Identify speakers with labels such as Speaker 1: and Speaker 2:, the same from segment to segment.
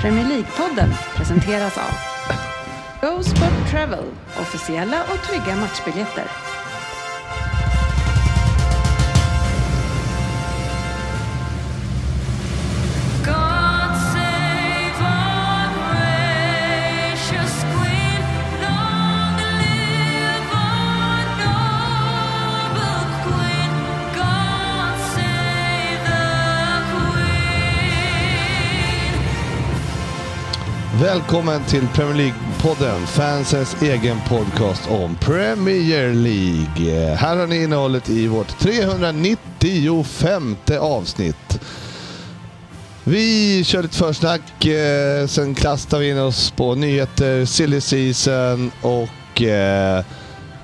Speaker 1: Premier League-podden presenteras av Go Sport Travel, officiella och trygga matchbiljetter.
Speaker 2: God save our gracious Queen. Long live our noble Queen. God save the Queen.
Speaker 3: Välkommen till Premier League-podden, fansens egen podcast om Premier League. Eh, Här har ni innehållet i vårt 395 avsnitt. Vi kör lite försnack, eh, sen kastar vi in oss på nyheter, silly season och eh,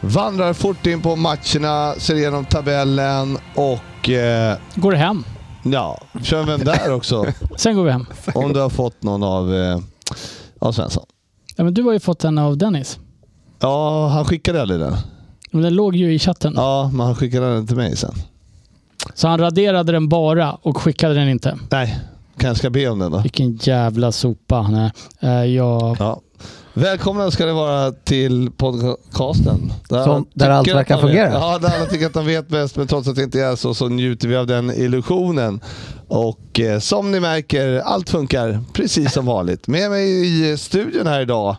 Speaker 3: vandrar fort in på matcherna, ser igenom tabellen och eh,
Speaker 4: Går hem.
Speaker 3: ja, kör vem där också.
Speaker 4: Sen går vi hem.
Speaker 3: Om du har fått någon av, eh, av Svensson.
Speaker 4: Ja, men du har ju fått den av Dennis.
Speaker 3: Ja, han skickade aldrig den.
Speaker 4: Men den låg ju i chatten.
Speaker 3: Ja, men han skickade den till mig sen.
Speaker 4: Så han raderade den bara och skickade den inte.
Speaker 3: Nej. Kanske ska be om den då.
Speaker 4: Vilken jävla sopa han är. Eh, Jag...
Speaker 3: Ja. Välkomna ska det vara till podcasten. Där,
Speaker 5: Som-
Speaker 3: alla
Speaker 5: där
Speaker 3: tycker att
Speaker 5: allt verkar
Speaker 3: de vet-
Speaker 5: fungera.
Speaker 3: Ja, där alla tycker att de vet bäst, men trots att det inte är så, så njuter vi av den illusionen. Och eh, som ni märker, allt funkar precis som vanligt. Med mig i studion här idag,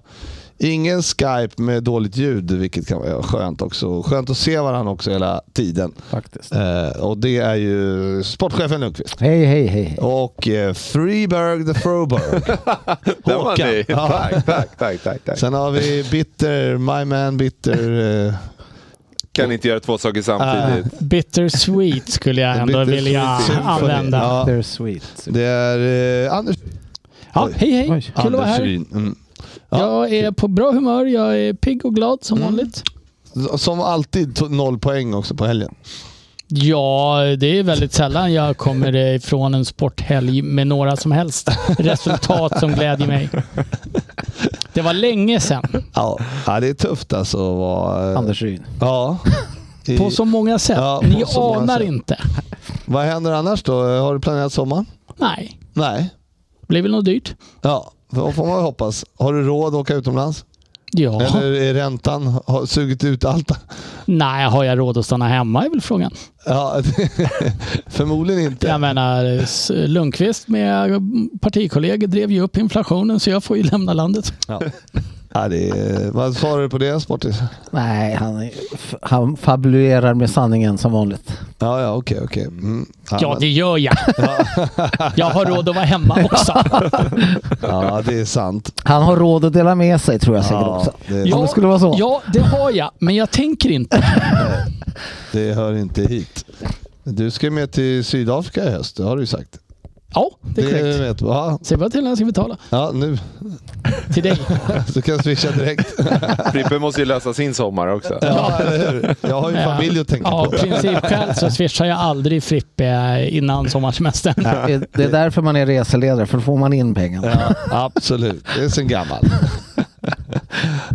Speaker 3: ingen Skype med dåligt ljud, vilket kan vara skönt också. Skönt att se varandra också hela tiden.
Speaker 5: Faktiskt.
Speaker 3: Eh, och det är ju sportchefen Lundqvist.
Speaker 5: Hej, hej, hej.
Speaker 3: Och eh, Freeberg the Froberg.
Speaker 6: Där var ni.
Speaker 3: Ja.
Speaker 6: Tack, tack, tack, tack. tack.
Speaker 3: Sen har vi Bitter, My Man Bitter. eh,
Speaker 6: Kan inte göra två saker samtidigt.
Speaker 4: Eh, Bittersweet skulle jag ändå
Speaker 3: Bittersweet
Speaker 4: vilja
Speaker 3: Symphony.
Speaker 4: använda.
Speaker 3: Ja,
Speaker 5: They're sweet.
Speaker 3: det är eh, Anders.
Speaker 4: Ja,
Speaker 3: Oj.
Speaker 4: hej hej!
Speaker 5: Oj.
Speaker 4: Kul att vara här.
Speaker 3: Ryn. Mm.
Speaker 4: Jag är på bra humör, jag är pigg och glad
Speaker 3: Mm.
Speaker 4: som vanligt.
Speaker 3: Som alltid tog noll poäng också på helgen.
Speaker 4: Ja, det är väldigt sällan jag kommer ifrån en sporthelg med några som helst resultat som glädjer mig. Det var länge sedan,
Speaker 3: Ja, ja det är tufft alltså att vara... eh,
Speaker 5: Anders Ryn.
Speaker 3: Ja. I,
Speaker 4: på så många sätt.
Speaker 3: Ja, på
Speaker 4: Ni
Speaker 3: så många
Speaker 4: anar
Speaker 3: sätt.
Speaker 4: inte.
Speaker 3: Vad händer annars då? Har du planerat sommaren?
Speaker 4: Nej,
Speaker 3: Nej.
Speaker 4: det blir väl något dyrt.
Speaker 3: Ja, då får man ju hoppas. Har du råd att åka utomlands?
Speaker 4: Ja,
Speaker 3: Eller är räntan har sugit ut allt?
Speaker 4: nej, har jag råd att stanna hemma är väl frågan.
Speaker 3: Ja, förmodligen inte.
Speaker 4: Jag menar, S- Lundqvist med partikollegor drev ju upp inflationen så jag får ju lämna landet.
Speaker 3: Ja, det är, vad svarar du på det Sportis?
Speaker 5: Nej, han, är- f- han fabulerar med sanningen som vanligt.
Speaker 3: Ja, ja, okej, okej. Mm.
Speaker 4: Ja,
Speaker 3: men-
Speaker 4: det gör jag. Jag har råd att vara hemma också.
Speaker 3: ja, det är sant.
Speaker 5: Han har råd att dela med sig tror jag säkert
Speaker 3: Ja,
Speaker 5: också.
Speaker 3: det-
Speaker 5: Om det skulle vara så.
Speaker 4: Ja, det har jag, men jag tänker inte.
Speaker 3: Det hör inte hit. Du ska ju med till Sydafrika i höst, det har du ju sagt.
Speaker 4: Ja, det är korrekt.
Speaker 3: vet ja,
Speaker 4: Säg bara till när jag ska betala.
Speaker 3: ja, nu.
Speaker 4: Till dig.
Speaker 3: Du kan swisha direkt.
Speaker 6: Frippe måste ju lösa sin sommar också.
Speaker 3: Ah. Ja, eller hur? Jag har ju familj att tänka
Speaker 4: Ja,
Speaker 3: på.
Speaker 4: av principskäl så swishar jag aldrig Frippe innan sommarsemestern.
Speaker 5: Det, det är därför man är reseledare, för då får man in pengarna.
Speaker 3: Ja, absolut, det är sen gammal.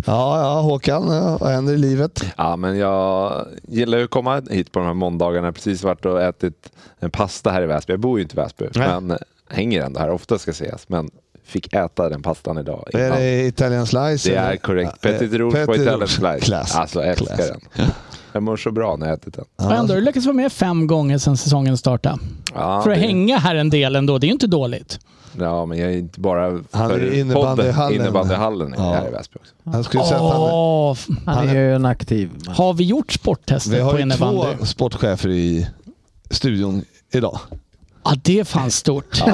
Speaker 3: Ja, ja, Håkan, ja, vad händer i livet?
Speaker 6: Ja, men jag gillar ju att komma hit på de här måndagarna. Jag har precis varit och ätit en pasta här i Väsby. Jag bor ju inte i Väsby,
Speaker 3: Nej.
Speaker 6: men hänger ändå här. Ofta ska sägas, men fick äta den pastan idag.
Speaker 3: Är
Speaker 6: innan.
Speaker 3: det Italian Slice?
Speaker 6: Det är
Speaker 3: eller?
Speaker 6: korrekt.
Speaker 3: Ja,
Speaker 6: Petit
Speaker 3: eh,
Speaker 6: Rouge på
Speaker 3: Petit
Speaker 6: Italian
Speaker 3: Rouge.
Speaker 6: Slice.
Speaker 3: Classic.
Speaker 6: Alltså, jag älskar
Speaker 3: Classic.
Speaker 6: den. Jag mår så bra när jag ätit den.
Speaker 4: Och ändå har du lyckats vara med fem gånger sedan säsongen startade.
Speaker 6: alltså- Ja,
Speaker 4: För att
Speaker 6: det-
Speaker 4: hänga här en del ändå, det är ju inte dåligt.
Speaker 6: Ja, men jag är inte bara
Speaker 3: Han är
Speaker 6: för
Speaker 3: i innebandyhallen.
Speaker 6: podden. Innebandyhallen är
Speaker 3: Ja.
Speaker 6: här i Väsby också.
Speaker 3: Han skulle säga att han,
Speaker 4: Åh, f-
Speaker 5: Han är ju en aktiv man.
Speaker 4: har vi gjort
Speaker 3: Vi
Speaker 4: sporttestet
Speaker 3: har
Speaker 4: på
Speaker 3: ju
Speaker 4: innebandy?
Speaker 3: två sportchefer i studion idag.
Speaker 4: Ja, det är fan stort.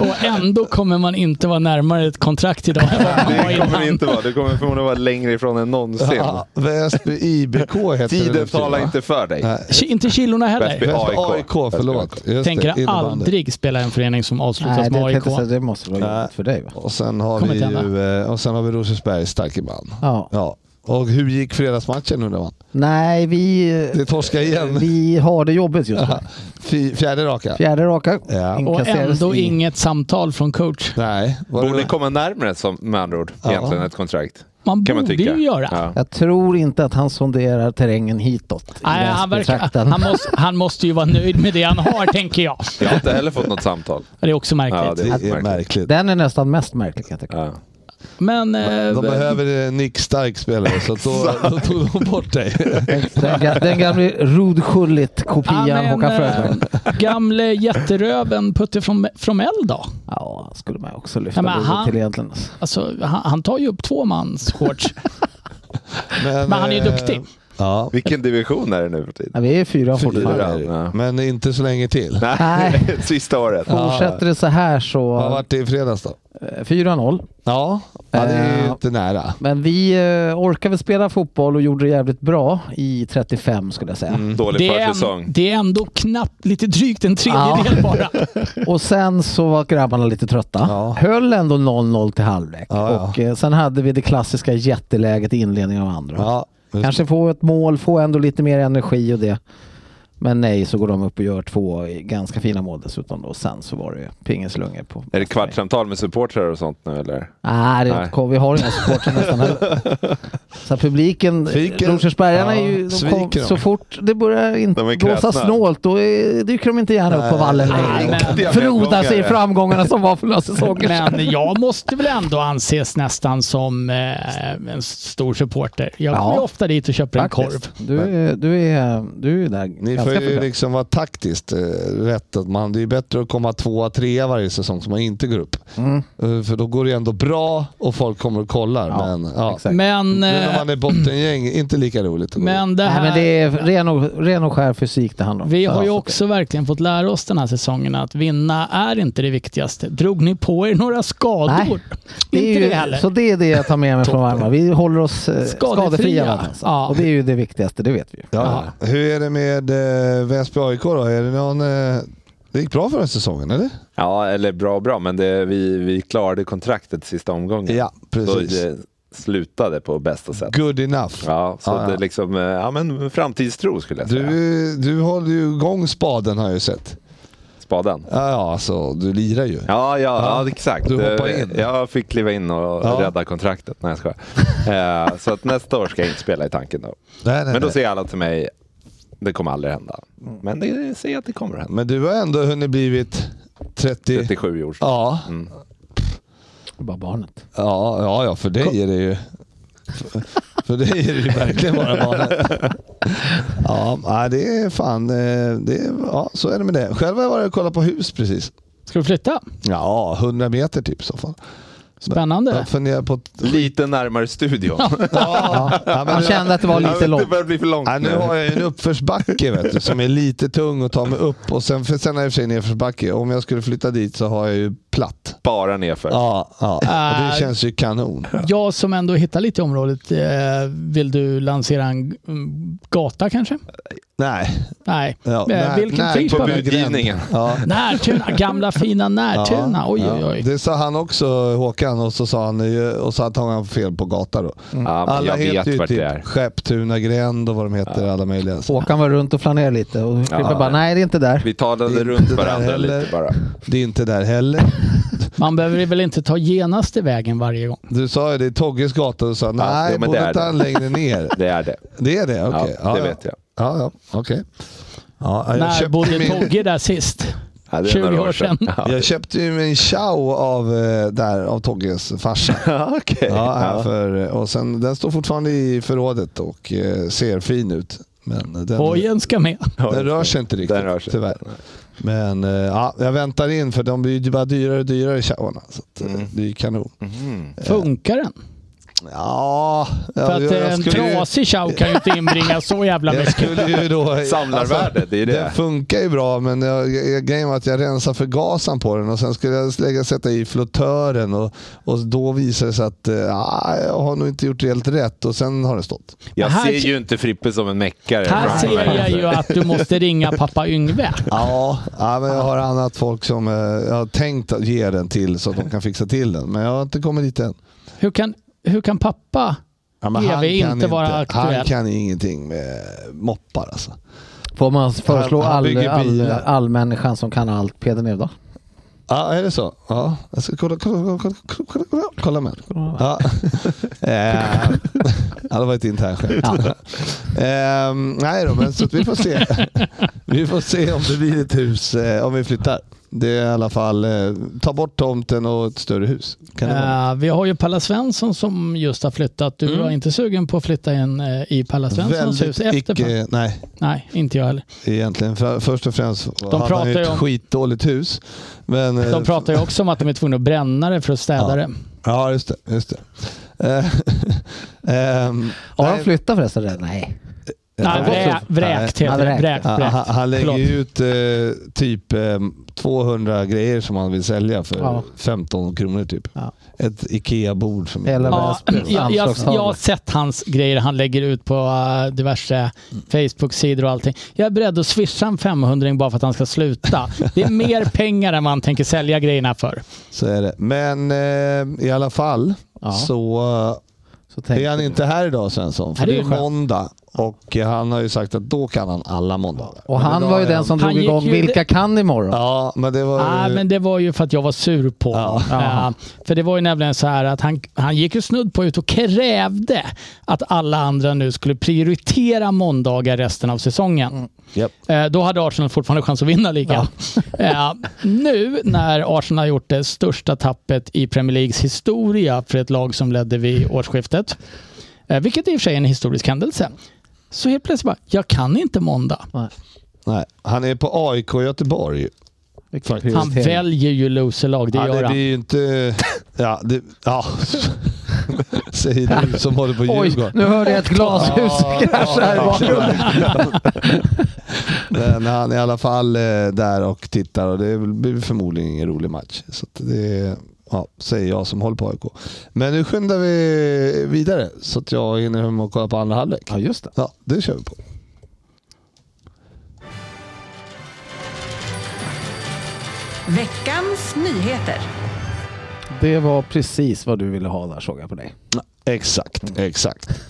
Speaker 4: Och ändå kommer man inte vara närmare ett kontrakt idag än vad man var
Speaker 6: Det kommer det
Speaker 4: innan.
Speaker 6: inte vara. Du kommer förmodligen vara längre ifrån än någonsin.
Speaker 3: Ja, Väsby IBK heter det nu
Speaker 6: Tiden
Speaker 3: för tiden,
Speaker 6: talar
Speaker 3: va?
Speaker 6: inte för dig.
Speaker 3: Nej.
Speaker 4: Ki- Inte kilorna
Speaker 6: Väsby
Speaker 4: heller.
Speaker 6: A.
Speaker 3: Väsby
Speaker 6: AIK,
Speaker 3: AIK, förlåt. Just det,
Speaker 4: Tänker
Speaker 3: innebandy.
Speaker 4: aldrig spela i en förening som avslutas
Speaker 5: Nej, det,
Speaker 4: med AIK.
Speaker 5: tänkte jag säga, det måste vara
Speaker 3: Nej.
Speaker 5: jobbigt för dig. Va?
Speaker 3: Och sen har
Speaker 4: Kommer
Speaker 3: vi
Speaker 4: inte
Speaker 3: ju, eh, och sen har vi Rosersbergs starke man.
Speaker 5: Ja.
Speaker 3: Ja. Och hur gick fredagsmatchen undrar man?
Speaker 5: Nej, vi,
Speaker 3: Det torskade
Speaker 4: Eh,
Speaker 3: igen.
Speaker 5: vi har det jobbigt just nu.
Speaker 3: Fy- Fjärde raka.
Speaker 5: Fjärde raka.
Speaker 3: Ja.
Speaker 4: Och
Speaker 5: inkasserades
Speaker 4: ändå
Speaker 5: i-
Speaker 4: inget samtal från coach.
Speaker 3: Nej. Var
Speaker 6: Borde
Speaker 3: det,
Speaker 6: komma närmare som, med andra ord,
Speaker 3: Ja.
Speaker 6: egentligen ett kontrakt.
Speaker 4: Man
Speaker 6: kan man
Speaker 4: borde
Speaker 6: tycka.
Speaker 4: ju göra.
Speaker 6: Ja.
Speaker 5: Jag tror inte att han sonderar terrängen hitåt. i
Speaker 4: Nej, han, verkar,
Speaker 5: Väsbytrakten.
Speaker 4: han, måste, han måste ju vara nöjd med det han har, tänker jag.
Speaker 6: Jag har inte heller fått något samtal.
Speaker 4: Det är också märkligt.
Speaker 6: Ja, det
Speaker 3: Det är
Speaker 6: är märkligt.
Speaker 3: märkligt.
Speaker 5: Den är nästan mest märklig kan jag tycka.
Speaker 6: Ja.
Speaker 4: Men... eh,
Speaker 3: De behöver eh, Nick Stark spelare, så att då, då tog de bort dig.
Speaker 5: Den, ga- den gamle rodskjulligt
Speaker 4: ja,
Speaker 5: kopian
Speaker 4: men,
Speaker 5: Håkan
Speaker 4: eh,
Speaker 5: Fröberg.
Speaker 4: Gamle jätteröven Putte from, Fromell då?
Speaker 5: Ja, han skulle man också lyfta
Speaker 4: Ja, men
Speaker 5: ja,
Speaker 4: han-
Speaker 5: till egentligen. alltså.
Speaker 4: Alltså, han, han tar ju upp två mans shorts. Men han är ju
Speaker 3: eh,
Speaker 4: duktig.
Speaker 3: Ja.
Speaker 6: Vilken division är det nu för tiden?
Speaker 5: Ja, vi är fyra
Speaker 6: Fyra.
Speaker 5: fortfarande.
Speaker 3: är det.
Speaker 6: Ja.
Speaker 3: Men inte så länge till.
Speaker 6: Nej, sista året.
Speaker 5: Fortsätter det så här så...
Speaker 3: Vad vart det i fredags då?
Speaker 5: eh, 4-0.
Speaker 3: Ja, ja det är ju
Speaker 5: Eh,
Speaker 3: inte nära.
Speaker 5: Men vi eh, orkade väl spela fotboll och gjorde det jävligt bra i 35 skulle jag säga.
Speaker 6: Mm. Dålig
Speaker 4: Det är, en-
Speaker 6: försäsong.
Speaker 4: det är ändå knappt, lite drygt en tredjedel bara.
Speaker 5: Och sen så var grabbarna lite trötta.
Speaker 3: Ja.
Speaker 5: Höll ändå 0-0 till halvlek.
Speaker 3: Ja, ja.
Speaker 5: Och eh, sen hade vi det klassiska jätteläget i inledningen av andra.
Speaker 3: Ja,
Speaker 5: Kanske få ett mål, få ändå lite mer energi och det. Men nej, så går de upp och gör två ganska fina mål dessutom. Då. Och sen så var det ju pingislungor på...
Speaker 6: Är det kvartssamtal med supportrar och sånt nu eller?
Speaker 5: Nej, det är
Speaker 6: Nej.
Speaker 5: inte kom, vi har inga supportrar nästan heller. Så att publiken,
Speaker 3: Sviker.
Speaker 5: Rosersbergarna är
Speaker 3: Ja,
Speaker 5: ju... De kom,
Speaker 3: sviker de.
Speaker 5: så fort det börjar in,
Speaker 6: De är
Speaker 5: blåsa
Speaker 6: kräsna.
Speaker 5: snålt, då är, dyker de inte gärna upp på vallen
Speaker 4: Nej,
Speaker 5: längre.
Speaker 4: men-
Speaker 5: och Froda sig i framgångarna som var för några säsonger sedan.
Speaker 4: Men jag måste väl ändå anses nästan som eh, en stor supporter. Jag går
Speaker 5: Ja.
Speaker 4: ju ofta dit och köper en korv.
Speaker 5: Faktiskt. Du, är- du, är, du är där
Speaker 3: Ni får
Speaker 5: ganska
Speaker 3: ju
Speaker 5: förbättrad.
Speaker 3: liksom vara taktiskt eh, rätt. Att man, det är bättre att komma tvåa, trea varje säsong så man inte går upp.
Speaker 5: Mm.
Speaker 3: Eh, För då går det ändå bra och folk kommer och kollar.
Speaker 5: Ja,
Speaker 3: men, ja.
Speaker 5: exakt.
Speaker 4: Men,
Speaker 3: Nu när
Speaker 4: eh,
Speaker 3: man är bottengäng, inte lika roligt att gå upp.
Speaker 4: men det
Speaker 5: Nej,
Speaker 4: här...
Speaker 5: men det är ren och, ren och skär fysik det handlar om.
Speaker 4: eh, Vi
Speaker 5: Ja.
Speaker 4: har ju också verkligen fått lära oss den här säsongen att vinna är inte det viktigaste. Drog ni på er några skador?
Speaker 5: Nej,
Speaker 4: inte
Speaker 5: Det är ju,
Speaker 4: det heller.
Speaker 5: Så det är det jag tar med mig från Varma. Vi håller oss eh,
Speaker 4: Skadefria.
Speaker 5: skadefria. någonstans.
Speaker 4: Ja.
Speaker 5: Och det är ju det viktigaste, det vet vi ju.
Speaker 3: Ja. Hur är det med eh, Väsby AIK då? Är det, någon, eh, det gick bra förra säsongen, eller?
Speaker 6: Ja, eller bra och bra, men det, vi, vi klarade kontraktet sista omgången. så
Speaker 3: precis.
Speaker 6: det slutade på bästa sätt.
Speaker 3: Good enough.
Speaker 6: Ja, så
Speaker 3: Ja, ja.
Speaker 6: det liksom, eh, ja men framtidstro skulle jag säga.
Speaker 3: Du, du håller ju igång spaden har jag ju sett.
Speaker 6: Spaden.
Speaker 3: Ja, ja alltså du lirar ju.
Speaker 6: Ja, ja, ja, exakt.
Speaker 3: du hoppar
Speaker 6: Eh,
Speaker 3: in.
Speaker 6: Jag fick kliva in och
Speaker 3: Ja.
Speaker 6: rädda kontraktet. Nej, jag skojar. Eh, Så att nästa år ska jag inte spela i tanken då.
Speaker 3: Nej, nej,
Speaker 6: Men då
Speaker 3: nej. Mm.
Speaker 6: säger alla till mig, det kommer aldrig hända. Men det säger att det kommer att hända.
Speaker 3: Men du har ändå hunnit blivit 30...
Speaker 6: 37 år.
Speaker 3: Ja.
Speaker 5: Bara barnet.
Speaker 3: Ja, ja, ja, för dig är det ju... för- För dig är det ju verkligen bara barnet. Ja, nej, det är fan... eh, Det är, ja, så är det med det. Själv har jag varit och kollat på hus precis.
Speaker 4: Ska du flytta?
Speaker 3: Ja, 100 meter typ i så fall.
Speaker 4: Spännande.
Speaker 3: Jag funderar på... att-
Speaker 6: Lite närmare studion.
Speaker 3: Ja, ja, men
Speaker 5: Han kände att det var
Speaker 6: Ja, men
Speaker 5: lite
Speaker 6: Det
Speaker 5: långt.
Speaker 6: börjar bli för långt
Speaker 3: Nej, nu har jag ju en uppförsbacke vet du, som är lite tung att ta mig upp. Och sen, för sen har jag i och för sig nedförsbacke. Om jag skulle flytta dit så har jag ju platt.
Speaker 6: Bara nerför.
Speaker 3: Ja, ja. Och det
Speaker 4: Äh.
Speaker 3: känns ju kanon.
Speaker 4: Jag som ändå hittar lite i området, eh, vill du lansera en mm, gata kanske?
Speaker 3: Nej.
Speaker 4: Nej.
Speaker 3: Ja,
Speaker 4: Eh, vilken
Speaker 3: när-
Speaker 4: pris
Speaker 6: på
Speaker 4: på den?
Speaker 6: budgivningen.
Speaker 3: Ja.
Speaker 4: Närtuna, gamla fina Närtuna. Äh, Oj,
Speaker 3: Ja,
Speaker 4: oj, oj.
Speaker 3: Det sa han också, Håkan, och så sa han ju- och så hade han fel på gatan då.
Speaker 6: Ja, men
Speaker 3: Alla
Speaker 6: jag
Speaker 3: heter
Speaker 6: vet
Speaker 3: ju
Speaker 6: vart
Speaker 3: typ
Speaker 6: det är.
Speaker 3: Skepptuna gränd och vad de heter, alla möjliga.
Speaker 5: Håkan var runt och flanerade lite och Frippe bara, nej det är inte där.
Speaker 6: Vi talade
Speaker 3: Inte
Speaker 6: runt
Speaker 3: där
Speaker 6: varandra
Speaker 3: heller.
Speaker 6: lite bara.
Speaker 3: Det är inte där heller.
Speaker 4: Man behöver väl inte ta genaste vägen varje gång?
Speaker 3: Du sa ju det, är Togges gata, och sa nej,
Speaker 6: jo, men
Speaker 3: borde
Speaker 6: det är
Speaker 3: inte
Speaker 6: det.
Speaker 3: han längre ner?
Speaker 6: Det är det.
Speaker 3: Det är det? Okej.
Speaker 6: Ja, det vet jag.
Speaker 3: Ja, ja, okej. Ja, jag
Speaker 4: När
Speaker 3: köpte
Speaker 4: bodde
Speaker 3: min-
Speaker 4: Togge där sist?
Speaker 6: Ja, det är
Speaker 4: 20
Speaker 6: några
Speaker 4: år sedan.
Speaker 6: Ja.
Speaker 3: Jag köpte ju min chow av, eh, där, av Togges farsa.
Speaker 6: Ja, okej.
Speaker 3: Ja, här
Speaker 6: Ja.
Speaker 3: för, och sen, den står fortfarande i förrådet och eh, ser fin ut. Men den,
Speaker 4: Hojen ska med.
Speaker 3: den rör sig inte riktigt,
Speaker 6: Den rör sig.
Speaker 3: tyvärr. Men eh, ja, jag väntar in för de blir ju bara dyrare och dyrare showarna. Så att, eh,
Speaker 6: Mm.
Speaker 3: Det är ju kanon.
Speaker 4: Funkar den?
Speaker 3: Ja, ja,
Speaker 4: För att eh,
Speaker 3: jag, jag
Speaker 4: en
Speaker 3: skulle ju-
Speaker 4: trasig chow kan ju inte inbringa så jävla
Speaker 3: jag
Speaker 4: mycket.
Speaker 3: skulle ju då... alltså,
Speaker 6: Samlarvärde, det är det.
Speaker 3: Den funkar ju bra, men jag, jag, grejen var att jag rensade förgasaren på den och sen skulle jag lägga, sätta i flottören och, och då visade det sig att eh, ah, jag har nog inte gjort det helt rätt och sen har det stått.
Speaker 6: Jag
Speaker 4: Här
Speaker 6: ser
Speaker 4: ser-
Speaker 6: ju inte Frippe som en meckare.
Speaker 4: Här ser jag ju att du måste ringa pappa Yngve.
Speaker 3: Ja, ja men jag har annat folk som eh, jag har tänkt att ge den till så att de kan fixa till den. Men jag har inte kommit dit än.
Speaker 4: Hur kan, hur kan pappa...
Speaker 3: Ja, men
Speaker 4: EV inte vara aktuell.
Speaker 3: Han kan ingenting med moppar alltså.
Speaker 5: Får man föreslå
Speaker 3: Han- han
Speaker 5: all,
Speaker 3: bygger
Speaker 5: all,
Speaker 3: bilar.
Speaker 5: all människan som kan allt, Peder Nevda?
Speaker 3: Ja, är det så? Ja, jag ska kolla, kolla, kolla, kolla, kolla, kolla, kolla med. Ja. Eh, det var ett internt skämt. Ehm, nej då, men så att vi får se. Vi får se om det blir ett hus, eh, om vi flyttar. Det är i alla fall, eh, ta bort tomten och ett större hus. Kan det vara? Mm.
Speaker 4: Eh, vi har ju Pella Svensson som just har flyttat. Du var inte sugen på att flytta in eh, i Pella Svenssons hus
Speaker 3: Väldigt
Speaker 4: efter Pella-
Speaker 3: icke, nej,
Speaker 4: Nej, inte jag heller.
Speaker 3: egentligen. För, först och främst de hade
Speaker 4: pratar
Speaker 3: han ju
Speaker 4: ju
Speaker 3: ett
Speaker 4: om-
Speaker 3: skitdåligt hus. Men, eh,
Speaker 4: De pratar ju också om att de är tvungna att bränna det för att städa
Speaker 3: Ja.
Speaker 4: det.
Speaker 3: Ja, just det. Just det. Eh, ehm,
Speaker 5: Har
Speaker 3: nej,
Speaker 5: han flyttat förresten redan? Nej.
Speaker 4: Nej,
Speaker 3: jag tror-
Speaker 4: vrä, vräkt
Speaker 3: Nej.
Speaker 4: heter det.
Speaker 5: Ja,
Speaker 4: Vräkt,
Speaker 5: vräkt.
Speaker 3: Ja,
Speaker 4: vräkt.
Speaker 3: han, han lägger
Speaker 4: Förlåt.
Speaker 3: ju ut eh, typ eh, 200 grejer som han vill sälja för
Speaker 5: Ja.
Speaker 3: 15 kronor typ.
Speaker 5: Ja.
Speaker 3: Ett Ikea-bord. Som
Speaker 5: Eller vad
Speaker 4: Ja,
Speaker 5: jag spelar.
Speaker 4: jag, jag,
Speaker 5: Anslagstavla.
Speaker 4: jag har sett hans grejer han lägger ut på eh, diverse Facebook-sidor och allting. Jag är beredd att swisha en 500 bara för att han ska sluta. Det är mer pengar än vad han tänker sälja grejerna för.
Speaker 3: Så är det. Men eh, i alla fall
Speaker 5: Ja.
Speaker 3: så
Speaker 5: Så
Speaker 3: eh,
Speaker 5: tänkte
Speaker 3: är han
Speaker 5: jag.
Speaker 3: inte här idag Svensson. För
Speaker 4: Nej,
Speaker 3: det
Speaker 4: det
Speaker 3: är
Speaker 4: är skönt.
Speaker 3: måndag och eh, han har ju sagt att då kan han alla måndagar.
Speaker 5: Och
Speaker 3: Men
Speaker 5: han
Speaker 3: idag
Speaker 5: var ju
Speaker 3: är
Speaker 5: den
Speaker 3: han-
Speaker 5: som Ah,
Speaker 4: Han
Speaker 5: drog
Speaker 4: gick
Speaker 5: igång
Speaker 4: ju-
Speaker 5: Vilka kan imorgon?
Speaker 3: Ja, men det var ju...
Speaker 4: Nej, men det var ju för att jag var sur på honom.
Speaker 5: Ja.
Speaker 4: Eh, För det var ju nämligen så här att han, han gick ju snudd på ut och krävde att alla andra nu skulle prioritera måndagar resten av säsongen.
Speaker 3: Mm. Japp.
Speaker 4: Eh, Då hade Arsenal fortfarande chans att vinna ligan. Eh, nu när Arsenal har gjort det största tappet i Premier Leagues historia för ett lag som ledde vid årsskiftet, eh, vilket i och för sig är en historisk händelse, så helt plötsligt bara, jag kan inte måndag.
Speaker 5: Nej.
Speaker 3: Nej, han är på AIK Göteborg.
Speaker 5: Vilken
Speaker 4: Han
Speaker 5: prioritering.
Speaker 4: väljer ju loserlag, det
Speaker 3: ja,
Speaker 4: gör
Speaker 3: det
Speaker 4: han.
Speaker 3: blir ju inte... Ja, det, ja. Säger du som håller på
Speaker 5: Oj,
Speaker 3: Djurgården.
Speaker 5: nu hörde jag ett glashus
Speaker 3: Ja,
Speaker 5: krascha här i
Speaker 3: ja,
Speaker 5: bakgrunden.
Speaker 3: Men han är i alla fall eh, där och tittar och det blir förmodligen ingen rolig match. Så att det ja, säger jag som håller på AIK. Men nu skyndar vi vidare så att jag hinner hem och kolla på andra halvlek.
Speaker 5: Ja, just det.
Speaker 3: Ja, det kör vi på.
Speaker 1: Veckans nyheter.
Speaker 5: Det var precis vad du ville ha där såg jag på dig.
Speaker 3: Exakt, exakt.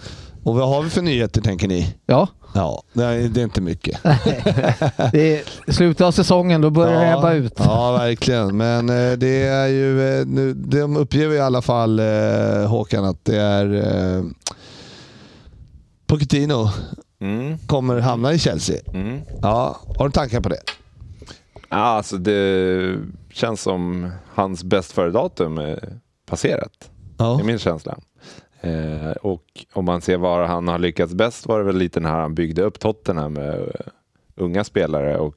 Speaker 3: Och vad har vi för nyheter tänker ni?
Speaker 5: Ja,
Speaker 3: Ja, nej, det är inte mycket.
Speaker 5: det är slutet av säsongen, då börjar det ebba ut.
Speaker 3: Ja, verkligen. Men eh, det är ju, eh, nu, de uppger ju i alla fall eh, Håkan att det är eh, Pochettino
Speaker 6: Mm,
Speaker 3: kommer hamna i Chelsea.
Speaker 6: mm.
Speaker 3: Ja, har du tankar på det?
Speaker 6: Ja, alltså det känns som hans bäst före-datum är passerat.
Speaker 3: Ja.
Speaker 6: Det är min känsla. Eh, och om man ser var han har lyckats bäst var det väl lite när han byggde upp Tottenham med eh, unga spelare och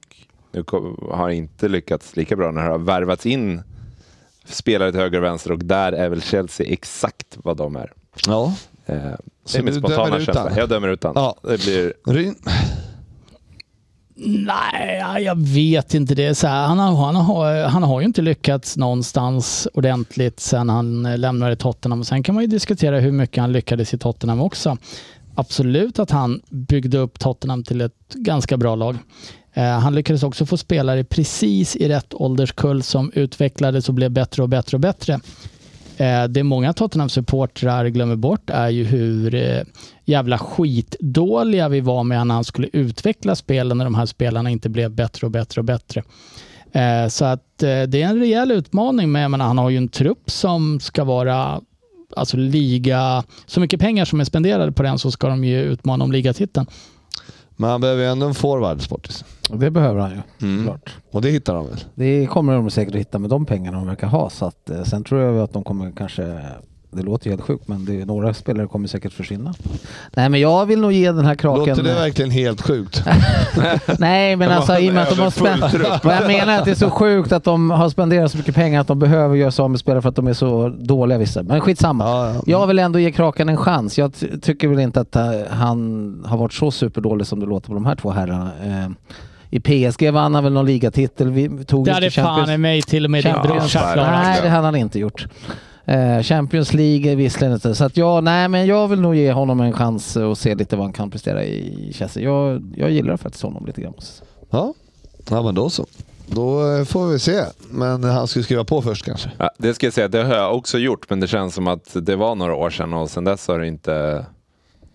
Speaker 6: nu kom, har inte lyckats lika bra när det har värvats in spelare till höger och vänster och där är väl Chelsea exakt vad de är.
Speaker 3: Ja.
Speaker 6: Eh, det
Speaker 3: Så
Speaker 6: är min
Speaker 3: du
Speaker 6: spontana
Speaker 3: dömer ut
Speaker 6: känsla.
Speaker 3: han?
Speaker 6: Jag dömer ut han.
Speaker 3: Ja.
Speaker 6: Det blir
Speaker 3: Ryn?
Speaker 4: Nej, jag vet inte. det. Så här, han, har, han, har, han har ju inte lyckats någonstans ordentligt sen han eh, lämnade Tottenham. Sen kan man ju diskutera hur mycket han lyckades i Tottenham också. Absolut att han byggde upp Tottenham till ett ganska bra lag. Eh, Han lyckades också få spelare precis i rätt ålderskull som utvecklades och blev bättre och bättre och bättre. Eh, Det många Tottenham-supportrar glömmer bort är ju hur eh, jävla skitdåliga vi var med när han skulle utveckla spelen när de här spelarna inte blev bättre och bättre och bättre. Eh, Så att eh, det är en rejäl utmaning, men jag menar, han har ju en trupp som ska vara alltså liga, så mycket pengar som är spenderade på den så ska de ju utmana om ligatiteln.
Speaker 3: Men han behöver ju ändå en forward, Sportis.
Speaker 5: Det behöver han ju.
Speaker 3: Mm.
Speaker 5: Klart.
Speaker 3: Och det hittar de väl?
Speaker 5: Det kommer de säkert att hitta med de pengarna de verkar ha. Så att, eh, sen tror jag att de kommer kanske, det låter ju helt sjukt, men det, är- några spelare kommer säkert försvinna. Nej men jag vill nog ge den här kraken... eh,
Speaker 3: Låter det verkligen helt sjukt?
Speaker 5: Nej, men alltså i och med att de har spenderat... Vad jag menar är att det är så sjukt att de har spenderat så mycket pengar att de behöver göra sig av med spelare för att de är så dåliga vissa. Men skitsamma.
Speaker 3: Ja, ja.
Speaker 5: Jag vill ändå ge Kraken en chans. Jag ty- tycker väl inte att eh, han har varit så superdålig som det låter på de här två herrarna. Eh, I PSG vann han väl någon ligatitel. Vi tog
Speaker 4: Det
Speaker 5: inte
Speaker 4: hade
Speaker 5: Champions
Speaker 4: fan i mig till och med din
Speaker 5: Champions-
Speaker 4: brorsa klarat.
Speaker 5: Nej, det hade han inte gjort. Eh, Champions League är visserligen inte. Så att jag, nej, men jag vill nog ge honom en chans eh, och se lite vad han kan prestera i Chelsea. Jag, jag gillar faktiskt honom lite grann. måste jag säga.
Speaker 3: Ja. ja, men då så. Då eh, får vi se. Men han ska skriva på först kanske.
Speaker 6: Ja, det ska jag säga, det har jag också gjort, men det känns som att det var några år sedan och sedan dess har det inte...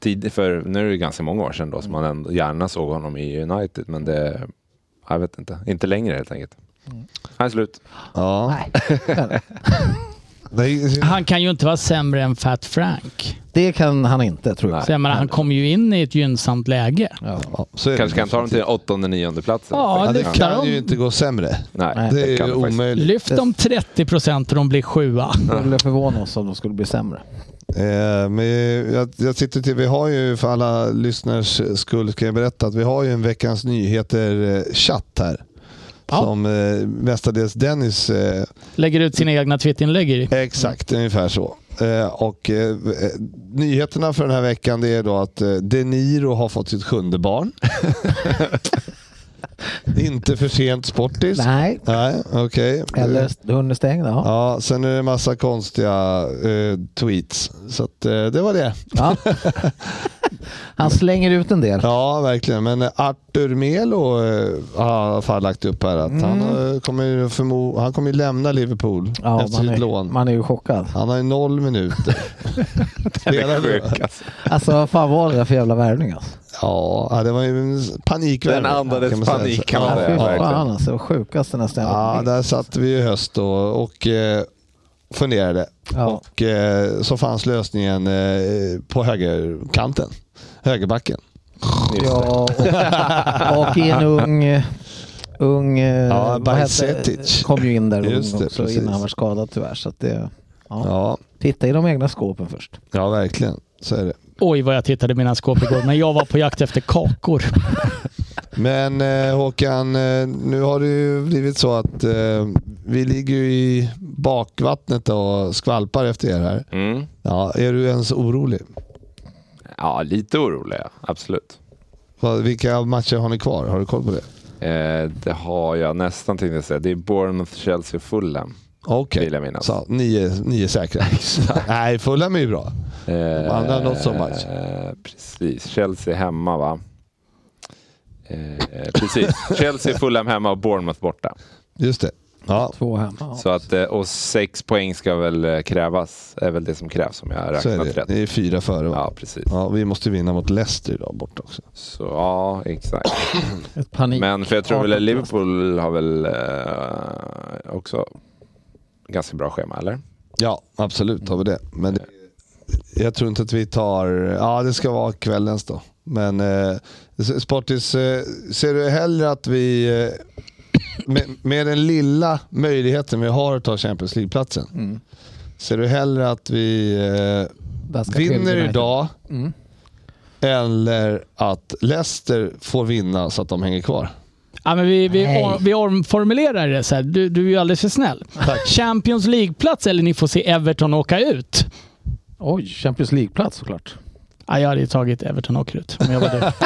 Speaker 6: Tid, för nu är det ganska många år sedan då som man ändå gärna såg honom i United, men det... Jag vet inte. Inte längre helt enkelt.
Speaker 3: Mm.
Speaker 6: Han är slut.
Speaker 3: Ja.
Speaker 5: Nej.
Speaker 3: Nej.
Speaker 4: Han kan ju inte vara sämre än Fat Frank.
Speaker 5: Det kan han inte tror jag.
Speaker 4: Så jag menar, han kom ju in i ett gynnsamt läge.
Speaker 5: Ja.
Speaker 3: Ja, så är
Speaker 6: Kanske
Speaker 3: det.
Speaker 6: kan ta dem till åttonde, nionde platsen.
Speaker 4: Ja,
Speaker 3: Ja,
Speaker 6: Faktiskt.
Speaker 3: det
Speaker 4: lyckas.
Speaker 3: kan ju inte gå sämre.
Speaker 6: Nej,
Speaker 3: Det är
Speaker 6: kan
Speaker 3: ju
Speaker 6: det faktiskt.
Speaker 3: omöjligt.
Speaker 4: Lyft dem 30 procent och de blir sjua.
Speaker 5: Det skulle förvåna oss om de skulle bli sämre.
Speaker 3: Eh, Men jag, jag sitter till, vi har ju för alla lyssnars skull ska jag berätta att vi har ju en veckans nyheter-chatt här.
Speaker 4: Ja.
Speaker 3: Som eh, mestadels Dennis eh,
Speaker 4: Lägger ut sina egna twittinlägg i.
Speaker 3: Exakt, ungefär så. Eh, Och eh, eh, nyheterna för den här veckan det är då att eh, De Niro har fått sitt sjunde barn. Inte för sent sportis.
Speaker 5: Nej.
Speaker 3: Nej, okej.
Speaker 5: Eller under stängda. Ja.
Speaker 3: Ja, sen är det massa konstiga eh, tweets. Så att, eh, det var det.
Speaker 5: Ja. Han slänger ut en del.
Speaker 3: Ja, verkligen. Men eh, Arthur Melo eh, har i alla fall lagt upp här att han, eh, kommer ju förmo- han kommer ju lämna Liverpool
Speaker 5: Mm. Ja,
Speaker 3: efter
Speaker 5: man,
Speaker 3: sitt
Speaker 5: är,
Speaker 3: lån.
Speaker 5: man är ju chockad.
Speaker 3: Han har ju noll minuter. Spelar nu.
Speaker 6: Sjuk, alltså.
Speaker 5: Alltså vad fan var det där för jävla värvning alltså?
Speaker 3: Ja, ja, det var ju en panikvärme.
Speaker 6: Den andades
Speaker 3: kan man säga.
Speaker 6: panik, kan man
Speaker 3: ja,
Speaker 5: Ja,
Speaker 6: säga.
Speaker 5: fy
Speaker 6: verkligen.
Speaker 5: fan alltså. Sjukaste nästan.
Speaker 3: Ja, där satt vi i höst då och eh, funderade.
Speaker 5: Ja.
Speaker 3: Och eh, så fanns lösningen eh, på högerkanten. Högerbacken.
Speaker 5: Ja, och, och i en ung... Ung... eh,
Speaker 3: Ja,
Speaker 5: vad heter-
Speaker 3: Bajsetic.
Speaker 5: Kom ju in där ung
Speaker 3: Just det,
Speaker 5: också
Speaker 3: precis.
Speaker 5: innan han var skadad tyvärr. Så att det, ja.
Speaker 3: Ja,
Speaker 5: Titta i de egna skåpen först.
Speaker 3: ja verkligen. Så är det.
Speaker 4: Oj vad jag tittade i mina skåp igår, men jag var på jakt efter kakor.
Speaker 3: Men eh, Håkan, eh, nu har det ju blivit så att eh, vi ligger ju i bakvattnet och skvalpar efter er här.
Speaker 6: Mm.
Speaker 3: Ja, är du ens orolig?
Speaker 6: Ja, lite oroliga. Absolut.
Speaker 3: Vad- Vilka matcher har ni kvar? Har du koll på det?
Speaker 6: Eh, det har jag nästan tänkte jag säga. Det är Bournemouth, Chelsea och Fulham.
Speaker 3: Okej.
Speaker 6: Vill jag minnas.
Speaker 3: Så, nio, nio säkra. Nej, Fulham är ju bra.
Speaker 6: Eh,
Speaker 3: andra not so much.
Speaker 6: eh, Precis. Chelsea hemma va? Eh, eh, precis. Chelsea, Fulham hemma och Bournemouth borta.
Speaker 3: Just det. Ja,
Speaker 5: Två hemma.
Speaker 6: Så att, eh, och sex poäng ska väl eh, krävas. är väl det som krävs om jag har
Speaker 3: så är
Speaker 6: räknat
Speaker 3: det.
Speaker 6: rätt.
Speaker 3: Det är fyra före va?
Speaker 6: Ja, precis.
Speaker 3: Ja, vi måste vinna mot Leicester idag borta också.
Speaker 6: Så, ja, exakt.
Speaker 5: Ett panik.
Speaker 6: Men för jag tror väl
Speaker 5: Ja,
Speaker 6: att Liverpool har väl eh, också ganska bra schema, eller?
Speaker 3: Ja, absolut har vi det. Men det, jag tror inte att vi tar... Ja, det ska vara kvällens då. Men eh, Sportis, eh, ser du hellre att vi... Eh, med, med den lilla möjligheten vi har att ta Champions League-platsen.
Speaker 5: Mm.
Speaker 3: Ser du hellre att vi eh,
Speaker 5: Där ska
Speaker 3: vinner
Speaker 5: United.
Speaker 3: idag
Speaker 5: Mm.
Speaker 3: eller att Leicester får vinna så att de hänger kvar?
Speaker 4: Ja, men vi, vi,
Speaker 5: Nej.
Speaker 4: or, vi omformulerar det så här. Du, du är ju alldeles för snäll. Champions League-plats eller ni får se Everton åka ut.
Speaker 5: Oj, Champions League-plats såklart.
Speaker 4: Ja, jag hade ju tagit Everton åker ut. Men jag var du.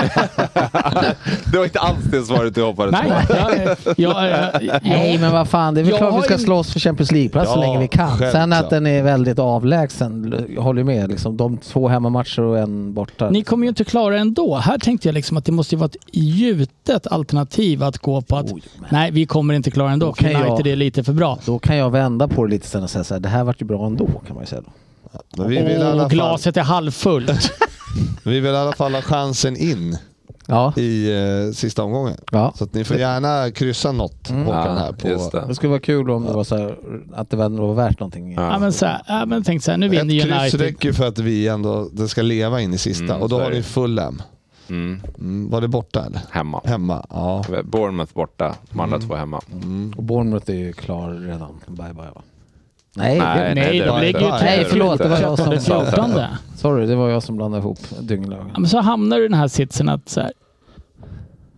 Speaker 6: Det var inte alls det svaret du hoppades på.
Speaker 4: Nej, jag, jag, jag,
Speaker 5: Nej, men vad fan. Det är väl
Speaker 4: Jag
Speaker 5: klart
Speaker 4: har
Speaker 5: vi ska
Speaker 4: ju-
Speaker 5: slåss för Champions League-plats så
Speaker 3: Ja,
Speaker 5: länge vi kan. Sen
Speaker 3: självklart.
Speaker 5: att den är väldigt avlägsen. Jag håller med. Liksom, de två hemmamatcher och en borta.
Speaker 4: Ni kommer ju inte klara det ändå. Här tänkte jag liksom att det måste ju vara ett gjutet alternativ att gå på att
Speaker 5: Oj, men
Speaker 4: nej, vi kommer inte klara det ändå. för
Speaker 5: Okej, ja.
Speaker 4: United är lite för bra.
Speaker 5: Då kan jag vända på det lite sen och säga så här. Det här vart ju bra ändå kan man ju säga då.
Speaker 3: Men vi, vill i alla
Speaker 4: Och
Speaker 3: fall,
Speaker 4: glaset är halvfullt.
Speaker 3: vi vill i alla fall ha chansen in
Speaker 5: Ja.
Speaker 3: i eh, sista omgången.
Speaker 5: ja.
Speaker 3: Så att ni får gärna kryssa något Håkan här. På,
Speaker 6: Mm. just det.
Speaker 5: Det skulle vara kul om det var så här, att det var värt någonting.
Speaker 4: ja, men så här, ja, men tänk så här, nu
Speaker 3: Ett
Speaker 4: vinner
Speaker 3: kryss
Speaker 4: United.
Speaker 3: räcker ju för att vi ändå det ska leva in i sista.
Speaker 6: Mm,
Speaker 3: och då
Speaker 6: så
Speaker 3: har
Speaker 6: är det.
Speaker 3: ni Fulham.
Speaker 6: Mm.
Speaker 3: Mm, var det borta eller?
Speaker 6: Hemma.
Speaker 3: Hemma? Ja.
Speaker 6: Bournemouth borta, de andra
Speaker 3: Mm.
Speaker 6: två hemma.
Speaker 5: Och Bournemouth är ju klar redan. Bye bye va? Nej, det,
Speaker 4: Nej,
Speaker 6: det
Speaker 4: de
Speaker 6: var
Speaker 4: ligger
Speaker 6: inte.
Speaker 4: ju
Speaker 5: Nej, förlåt, det var jag som-
Speaker 4: fjortonde.
Speaker 5: sorry det var jag som blandade ihop
Speaker 4: Ja,
Speaker 5: dynglagen.
Speaker 4: men så hamnar du i den här sitsen att så här,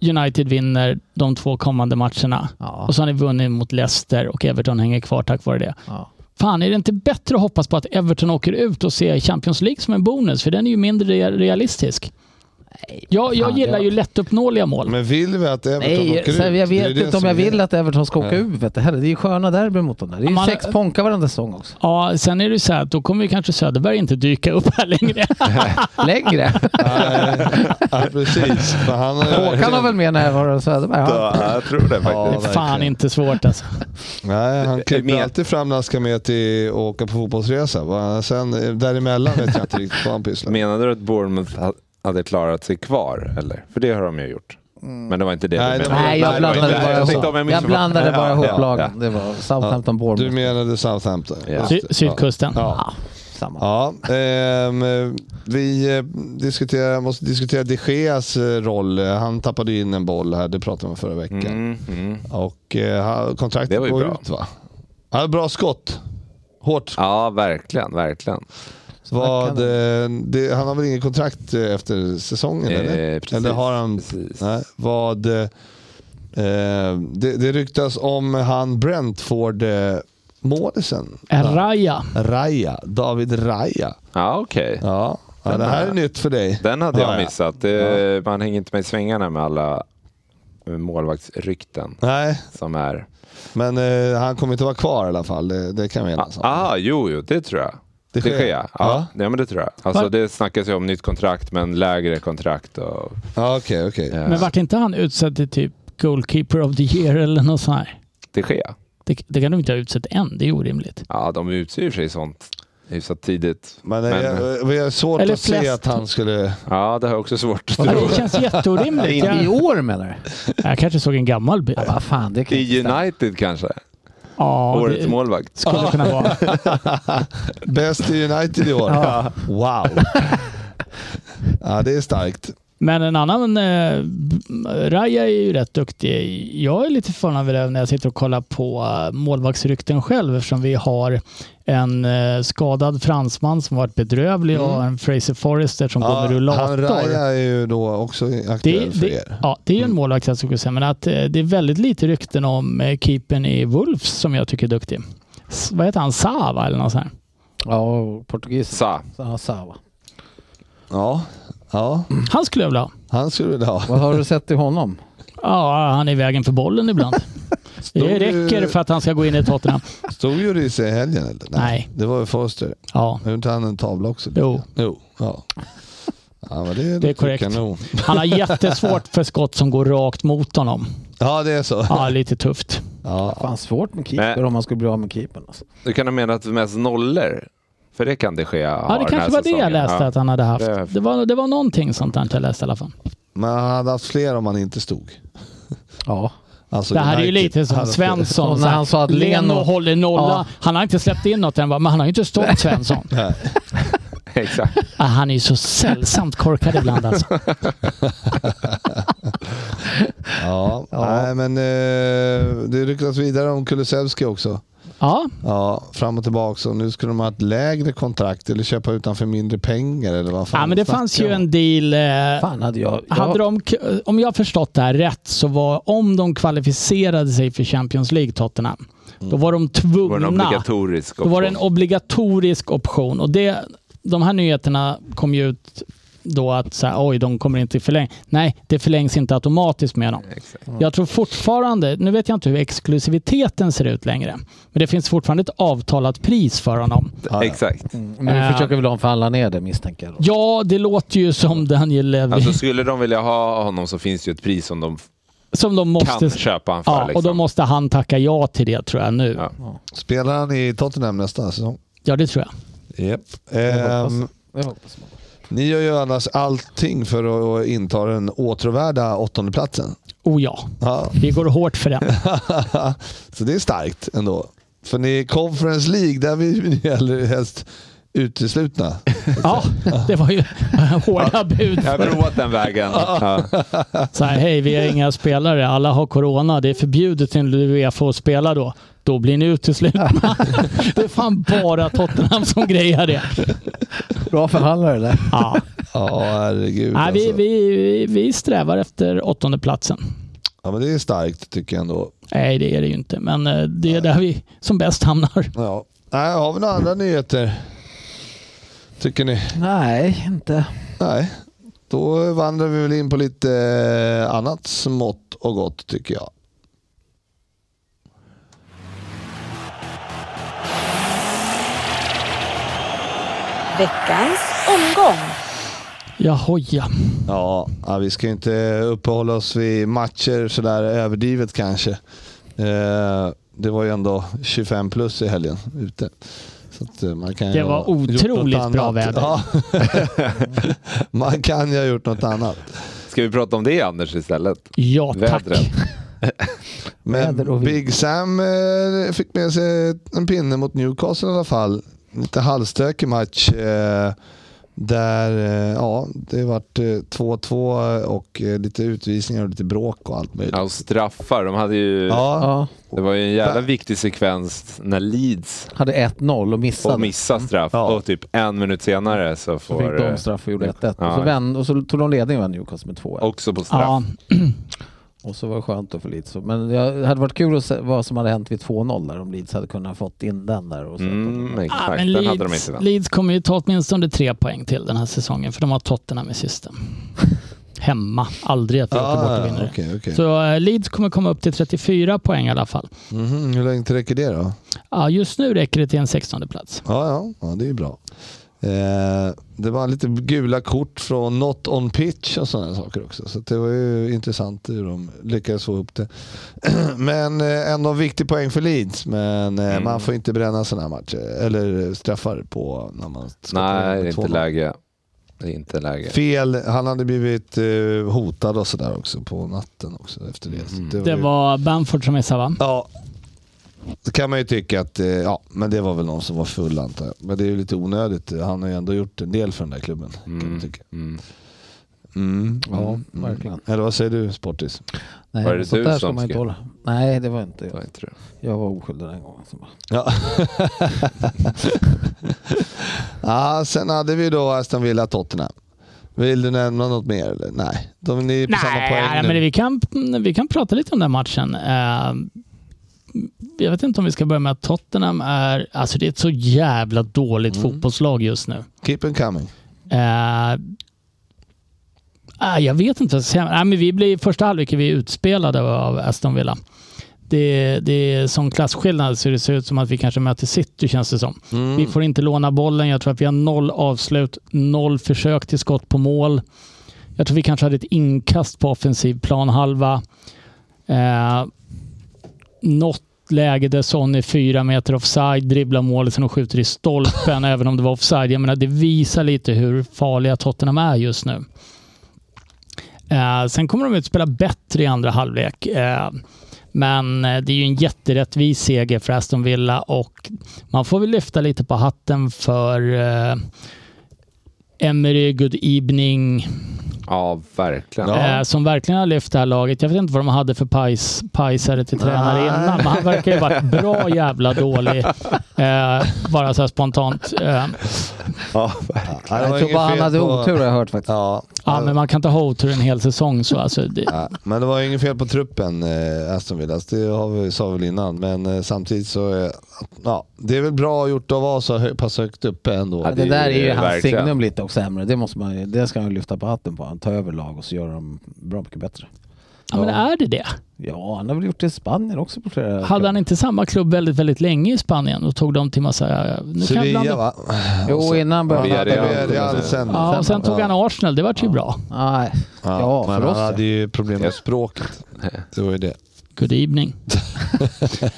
Speaker 4: United vinner de två kommande matcherna.
Speaker 5: Ja,
Speaker 4: Och så har ni vunnit mot Leicester och Everton hänger kvar tack vare det.
Speaker 5: ja.
Speaker 4: Fan, är det inte bättre att hoppas på att Everton åker ut och ser Champions League som en bonus? För den är ju mindre rea- realistisk. Jag, jag
Speaker 5: fan,
Speaker 4: gillar
Speaker 5: det-
Speaker 4: ju lättuppnåeliga mål.
Speaker 3: Men vill vi att Everton
Speaker 5: Nej,
Speaker 3: åker ut?
Speaker 5: så här, jag
Speaker 3: Det är
Speaker 5: vet
Speaker 3: det
Speaker 5: inte om
Speaker 3: som
Speaker 5: jag
Speaker 3: är-
Speaker 5: vill att Everton ska åka
Speaker 3: Nej.
Speaker 5: ut. Vet du, heller. Det är ju sköna derby mot dem där. Det är ju
Speaker 4: Man-
Speaker 5: sex ponka varenda säsong också.
Speaker 4: Ja, sen är det så här att då kommer ju kanske Söderberg inte dyka upp här längre.
Speaker 5: Längre.
Speaker 3: Nej, ja, precis. För han har ju
Speaker 5: Håkan
Speaker 3: verkligen-
Speaker 5: har väl med närvaro än Söderberg? Ja.
Speaker 6: Ja, jag tror det
Speaker 4: Det är
Speaker 3: Ja,
Speaker 6: faktiskt.
Speaker 4: fan
Speaker 3: verkligen.
Speaker 4: inte svårt alltså.
Speaker 3: Nej, han klipper
Speaker 6: Med-
Speaker 3: alltid fram när han ska med till att åka på fotbollsresa. Va? Sen eh, däremellan vet jag inte riktigt vad han pysslar med.
Speaker 6: Menade du att Bournemouth ha- hade klarat sig kvar? Eller? För det har de ju gjort. Men det var inte det
Speaker 3: Mm. Nej,
Speaker 6: du
Speaker 3: det
Speaker 6: menade.
Speaker 3: var-
Speaker 5: Nej, jag
Speaker 3: Nej,
Speaker 5: blandade
Speaker 3: men-
Speaker 5: bara
Speaker 3: jag
Speaker 5: ihop.
Speaker 3: tänkte
Speaker 5: Jag,
Speaker 6: om jag missuppfattade.
Speaker 5: blandade bara
Speaker 6: Ja,
Speaker 5: ihop
Speaker 6: ja,
Speaker 5: lagen. Det var Southampton,
Speaker 3: Du
Speaker 5: Bournemouth.
Speaker 3: menade Southampton?
Speaker 6: Ja.
Speaker 3: Just
Speaker 4: Sy-
Speaker 3: det.
Speaker 4: sydkusten.
Speaker 3: Ja.
Speaker 5: Ja, samma.
Speaker 3: Ja, ehm, eh, vi eh, diskuterar, måste diskutera de Geas eh, roll. Han tappade ju in en boll här, det pratade vi om förra veckan.
Speaker 6: Mm, mm.
Speaker 3: Och eh, han-
Speaker 6: Det
Speaker 3: kontraktet
Speaker 6: var ju
Speaker 3: går
Speaker 6: bra.
Speaker 3: ut va? Han hade bra skott. Hårt skott.
Speaker 6: Ja, verkligen, verkligen.
Speaker 3: Vad,
Speaker 5: kan
Speaker 3: eh, det, han har väl inget kontrakt eh, efter säsongen
Speaker 6: Eh,
Speaker 3: eller?
Speaker 6: precis,
Speaker 3: eller har han?
Speaker 6: precis.
Speaker 3: Nej, vad, eh, eh, det, det ryktas om han Brentford eh, målisen.
Speaker 4: Raja.
Speaker 3: Raja, David Raja.
Speaker 6: Ja, okej.
Speaker 3: Ja, ja det här är nytt för dig.
Speaker 6: Den hade
Speaker 3: Ja,
Speaker 6: jag
Speaker 3: ja.
Speaker 6: missat. Det, Man hänger inte med i svängarna med alla eh, målvaktsrykten
Speaker 3: Nej,
Speaker 6: som är...
Speaker 3: men eh, han kommer inte vara kvar i alla fall. Det, det kan vi
Speaker 6: Ja,
Speaker 3: enas om.
Speaker 6: ah, jo, jo, det tror jag.
Speaker 3: Det
Speaker 6: Det
Speaker 3: sker.
Speaker 6: sker, ja.
Speaker 3: Ja.
Speaker 6: ja. Nej, men det tror jag. Alltså,
Speaker 4: Va?
Speaker 6: det snackas ju om nytt kontrakt, men lägre kontrakt. Och,
Speaker 3: Ja, Okej, okej.
Speaker 6: eh,
Speaker 4: Men vart inte han utsedd till typ Goalkeeper of the year eller något sånt här?
Speaker 6: Det sker.
Speaker 4: Det, det kan de inte ha utsett än. Det är orimligt.
Speaker 6: Ja, de utser sig sånt hyfsat tidigt.
Speaker 3: Men, eh,
Speaker 6: Men-
Speaker 3: jag- vi har svårt
Speaker 4: Eller
Speaker 3: att se
Speaker 4: flest.
Speaker 3: att han skulle...
Speaker 6: Ja, det har jag också svårt att
Speaker 4: Ja,
Speaker 6: tro.
Speaker 4: Alltså, det känns jätteorimligt.
Speaker 5: I
Speaker 4: Jag,
Speaker 5: år menar du?
Speaker 4: jag kanske såg en gammal bild.
Speaker 5: Vad fan, det kan
Speaker 6: I
Speaker 5: inte stämma.
Speaker 6: United kanske?
Speaker 4: Ja,
Speaker 6: Årets
Speaker 4: det
Speaker 6: målvakt.
Speaker 4: skulle kunna vara.
Speaker 3: Bäst i United i år. Wow! Ja, det är starkt.
Speaker 4: Men en annan, eh, Raja är ju rätt duktig. Jag är lite förvånad över det när jag sitter och kollar på eh, målvaktsrykten själv eftersom vi har en eh, skadad fransman som varit bedrövlig och en Fraser Forrester som går
Speaker 3: Mm. Ja,
Speaker 4: med
Speaker 3: han Raja
Speaker 4: rullator.
Speaker 3: är ju då också
Speaker 4: Det,
Speaker 3: aktuell för
Speaker 4: det,
Speaker 3: er.
Speaker 4: ja, det är ju en målvakt jag skulle säga, men att, eh, det är väldigt lite rykten om eh, keepern i Wolves som jag tycker är duktig. S- vad heter han? Sava eller något sånt här.
Speaker 5: Ja, och portugis.
Speaker 6: Sa.
Speaker 5: Ja, Sava.
Speaker 3: Ja, ja,
Speaker 4: Han skulle jag vilja ha.
Speaker 3: han skulle vilja ha.
Speaker 5: Vad har du sett i honom?
Speaker 4: Ja, han är i vägen för bollen ibland. Det
Speaker 3: Stod ju-
Speaker 4: räcker för att han ska gå in i Tottenham.
Speaker 3: Stod ju Ryse i helgen eller?
Speaker 4: Nej.
Speaker 3: Det var ju Forster.
Speaker 4: Ja,
Speaker 3: Gjorde inte han en tavla också?
Speaker 4: jo.
Speaker 3: Jo. Ja. Ja, men det,
Speaker 4: Det är korrekt.
Speaker 3: Kanon.
Speaker 4: Han har jättesvårt för skott som går rakt mot honom.
Speaker 3: Ja, det är så.
Speaker 4: Ja, lite tufft.
Speaker 3: Ja.
Speaker 5: Fan svårt med keeper
Speaker 6: Nej.
Speaker 5: om man skulle bli av med keepern. Alltså.
Speaker 6: Du kan ha menat mest nollor. För det kan det ske.
Speaker 4: Ja, det kanske var det jag läste att han hade
Speaker 6: Det är-
Speaker 4: haft. Det var, det var någonting sånt där jag läste i alla fall.
Speaker 3: Men han hade haft fler om han inte stod.
Speaker 5: Ja.
Speaker 3: Alltså,
Speaker 4: Det här är ju
Speaker 3: United
Speaker 4: lite som
Speaker 3: hade-
Speaker 4: Svensson.
Speaker 5: Och när
Speaker 4: så här,
Speaker 5: han sa att
Speaker 4: Leno
Speaker 5: Leno-
Speaker 4: håller nolla.
Speaker 5: Ja.
Speaker 4: Han har inte släppt in något än, va? men han har ju inte stått Svensson.
Speaker 6: Exakt.
Speaker 4: Ah, han är ju så sällsamt korkad ibland alltså.
Speaker 3: Ja, Nej, men eh, det ryktas vidare om Kulusevski också.
Speaker 4: Ja,
Speaker 3: Ja, fram och tillbaka. Och nu skulle de ha ett lägre kontrakt eller köpa utanför mindre pengar eller vad fan
Speaker 4: ja men det
Speaker 3: de
Speaker 4: fanns ju
Speaker 3: snackar om.
Speaker 4: en deal. Eh,
Speaker 5: Fan hade jag... jag
Speaker 4: Hade de, om jag har förstått det här rätt så var om de kvalificerade sig för Champions League, Tottenham, då var de
Speaker 6: Det var
Speaker 4: tvungna.
Speaker 6: en obligatorisk
Speaker 4: Då var det en
Speaker 6: option.
Speaker 4: obligatorisk option. Och det, de här nyheterna kom ju ut då att så här, oj, de kommer inte förlänga. Nej, det förlängs inte automatiskt med dem.
Speaker 6: Exakt.
Speaker 4: Jag tror fortfarande, nu vet jag inte hur exklusiviteten ser ut längre, men det finns fortfarande ett avtalat pris för honom.
Speaker 3: ja.
Speaker 6: Exakt.
Speaker 5: Nu
Speaker 4: Eh.
Speaker 5: Mm, försöker väl de förhandla ner det misstänker jag. då.
Speaker 4: Ja, det låter ju som Daniel Levy
Speaker 6: Alltså skulle de vilja ha honom så finns det ju ett pris som de
Speaker 4: som de
Speaker 6: kan
Speaker 4: måste...
Speaker 6: köpa han för.
Speaker 4: Ja, och
Speaker 6: liksom.
Speaker 4: då måste han tacka ja till det tror jag nu.
Speaker 6: Ja.
Speaker 3: Spelar han i Tottenham nästa säsong?
Speaker 4: Ja, det tror jag.
Speaker 3: Yep.
Speaker 5: Jag
Speaker 6: Ehm.
Speaker 5: hoppas- jag hoppas.
Speaker 3: ni gör ju annars allting för att inta den åtråvärda åttondeplatsen.
Speaker 4: Oh ja,
Speaker 3: Ja.
Speaker 4: vi går hårt för den.
Speaker 3: Så det är starkt ändå. För ni är Conference League, där vill ju ni hellre helst uteslutna.
Speaker 4: Ja, det var ju hårda bud.
Speaker 6: Jag har provat den vägen. Ja.
Speaker 4: Så här, hej, vi har inga spelare. Alla har corona. Det är förbjudet enligt Uefa att spela då. Då blir ni uteslutna. Det är fan bara Tottenham som grejar det.
Speaker 5: Bra förhandlare där.
Speaker 4: Ja.
Speaker 3: Ja, herregud.
Speaker 4: Nej, vi,
Speaker 3: alltså.
Speaker 4: vi, vi- vi strävar efter åttondeplatsen.
Speaker 3: Ja, men det är starkt tycker jag ändå.
Speaker 4: Nej, det är det ju inte, men eh, det är där vi som bäst hamnar.
Speaker 3: Ja. Nej, har vi några andra
Speaker 4: Mm.
Speaker 3: nyheter? Tycker ni?
Speaker 5: Nej, inte.
Speaker 3: Nej. Då vandrar vi väl in på lite eh, annat smått och gott tycker jag.
Speaker 7: Veckans omgång.
Speaker 4: Jahoja.
Speaker 3: Ja, ja, vi ska ju inte uppehålla oss vid matcher sådär överdrivet kanske. Eh, det var ju ändå 25 plus i helgen ute. Så att eh, man kan ju
Speaker 4: Det var
Speaker 3: ha gjort något
Speaker 4: otroligt bra
Speaker 3: annat.
Speaker 4: väder.
Speaker 3: Ja. man kan ju ha gjort något annat.
Speaker 6: Ska vi prata om det Anders istället?
Speaker 4: Ja, tack.
Speaker 6: Vädret.
Speaker 5: Väder
Speaker 3: Men
Speaker 5: och vind.
Speaker 3: Big Sam eh, fick med sig en pinne mot Newcastle i alla fall. Lite halvstökig match. Eh, där eh, ja, det vart eh, 2-2 och eh, lite utvisningar och lite bråk och allt möjligt.
Speaker 6: Ja, och straffar. De hade ju,
Speaker 3: Ja,
Speaker 5: Ja,
Speaker 6: Det var ju en jävla viktig sekvens när Leeds
Speaker 5: hade 1-0 och missade.
Speaker 6: och missar straff
Speaker 3: Ja.
Speaker 6: och typ en minut senare så
Speaker 5: Så fick
Speaker 6: får eh,
Speaker 5: de straff och gjorde 1-1. Och,
Speaker 6: Ja.
Speaker 5: så vände- och så tog de ledningen och vann Newcastle med 2-1.
Speaker 6: också på straff.
Speaker 4: Ja,
Speaker 5: Och så var det skönt då för Leeds. Men det hade varit kul att se vad som hade hänt vid 2-0 där om Leeds hade kunnat fått in den där. Och så.
Speaker 6: Mm, exakt.
Speaker 4: ah, men
Speaker 6: Den hade de
Speaker 4: Leeds,
Speaker 6: inte vänt.
Speaker 4: Leeds kommer ju ta åtminstone tre poäng till den här säsongen för de har Tottenham i system. Hemma. Aldrig att vi åker bort och
Speaker 3: ah,
Speaker 4: vinner det.
Speaker 3: okej. okej.
Speaker 4: Så eh, Leeds kommer komma upp till 34 poäng i alla fall.
Speaker 3: Mhm, hur länge räcker det då?
Speaker 4: Ja, just nu räcker det till en 16 plats.
Speaker 3: Ja, ja, ja det är ju bra. Eh, det var lite gula kort från Not on pitch och sådana saker också. Så det var ju intressant hur de lyckades få ihop det. men eh, ändå en viktig poäng för Leeds. Men eh,
Speaker 6: Mm.
Speaker 3: man får inte bränna sådana här matcher. Eller straffar på när man skottar in
Speaker 6: Nej,
Speaker 3: med
Speaker 6: det är inte
Speaker 3: 2-0.
Speaker 6: läge. Det är inte läge.
Speaker 3: Fel. Han hade blivit eh, hotad och sådär också på natten också efter det. Så
Speaker 6: Mm.
Speaker 3: det, var
Speaker 4: Det
Speaker 3: ju-
Speaker 4: var Bamford som missade va?
Speaker 3: Ja. Det kan man ju tycka att, eh, ja, men det var väl någon som var full antar jag. Men det är ju lite onödigt. Han har ju ändå gjort en del för den där klubben. Kan man tycka.
Speaker 6: Mm.
Speaker 3: Mm.
Speaker 5: Ja, verkligen.
Speaker 3: Eller vad säger du Sportis?
Speaker 5: Nej,
Speaker 6: Var det
Speaker 5: sånt
Speaker 6: du
Speaker 5: där ska
Speaker 6: som
Speaker 5: man inte
Speaker 6: skrev?
Speaker 5: hålla. Nej, det var inte
Speaker 6: Det var
Speaker 5: jag.
Speaker 6: inte det.
Speaker 5: Jag var oskyldig den gången. Så bara-
Speaker 3: Ja. ja, sen hade vi då Aston Villa Tottenham. Vill du nämna något mer? Eller? Nej, de är på samma poäng
Speaker 4: Nej,
Speaker 3: nu.
Speaker 4: men vi kan, vi kan prata lite om den matchen. Eh, Jag vet inte om vi ska börja med att Tottenham är... Alltså det är ett så jävla
Speaker 6: Mm.
Speaker 4: dåligt fotbollslag just nu.
Speaker 3: Keep them coming.
Speaker 4: Eh, ah, jag vet inte. vad jag ska säga. Nej, men vi blir, I första halvlek är vi utspelade av Aston Villa. Det, det är sån klasskillnad så det ser ut som att vi kanske möter City känns det som. Vi får inte låna bollen. Jag tror att vi har noll avslut, noll försök till skott på mål. Jag tror vi kanske hade ett inkast på offensiv planhalva. Eh, något läge där Son är fyra meter offside, dribblar målet och skjuter i stolpen även om det var offside. Jag menar, det visar lite hur farliga Tottenham är just nu. Eh, sen kommer de utspela bättre i andra halvlek. Eh, men eh, det är ju en jätterättvis seger för Aston Villa och man får väl lyfta lite på hatten för eh, Emery, Good Evening,
Speaker 6: Ja, verkligen.
Speaker 3: Ja.
Speaker 4: Eh, som verkligen har lyft det här laget. Jag vet inte vad de hade för pajs, pajsare till tränare
Speaker 3: Nej.
Speaker 4: innan, men han verkar ju varit bra jävla dålig. Eh, bara så här spontant. Eh,
Speaker 3: Ja,
Speaker 5: Nej,
Speaker 3: det var
Speaker 5: Jag tror
Speaker 3: inget
Speaker 5: bara han
Speaker 3: fel
Speaker 5: hade
Speaker 3: på-
Speaker 5: otur har jag hört faktiskt.
Speaker 3: Ja,
Speaker 4: ja, men man kan inte ha otur en hel säsong. Så alltså, det,
Speaker 3: Ja, men det var ju inget fel på truppen, eh, Aston Villa. Så Det har vi, sa vi väl innan, men eh, samtidigt så... Eh, ja, det är väl bra gjort av oss att hö- passa högt uppe ändå.
Speaker 6: Ja,
Speaker 5: Det, där är ju hans
Speaker 6: verkligen.
Speaker 5: signum lite också, Emre. Det, måste man, ju- det ska han ju lyfta på hatten på. Han tar över lag och så gör de bra mycket bättre.
Speaker 4: ja, men är det det?
Speaker 5: Ja, han har väl gjort det i Spanien också på flera...
Speaker 4: Hade han inte samma klubb väldigt, väldigt länge i Spanien och tog dem till massa... eh, Nu kan jag blanda-
Speaker 3: Sevilla va?
Speaker 5: Jo, innan började
Speaker 6: Ja,
Speaker 5: han...
Speaker 6: det är-
Speaker 3: Villarreal sen.
Speaker 4: Ja, och sen tog han Arsenal. Det var ju bra.
Speaker 5: Nej. Ja,
Speaker 3: men
Speaker 5: för
Speaker 3: han
Speaker 5: oss
Speaker 3: hade
Speaker 5: ja.
Speaker 3: ju problem med språket. Det var ju det.
Speaker 4: Good evening.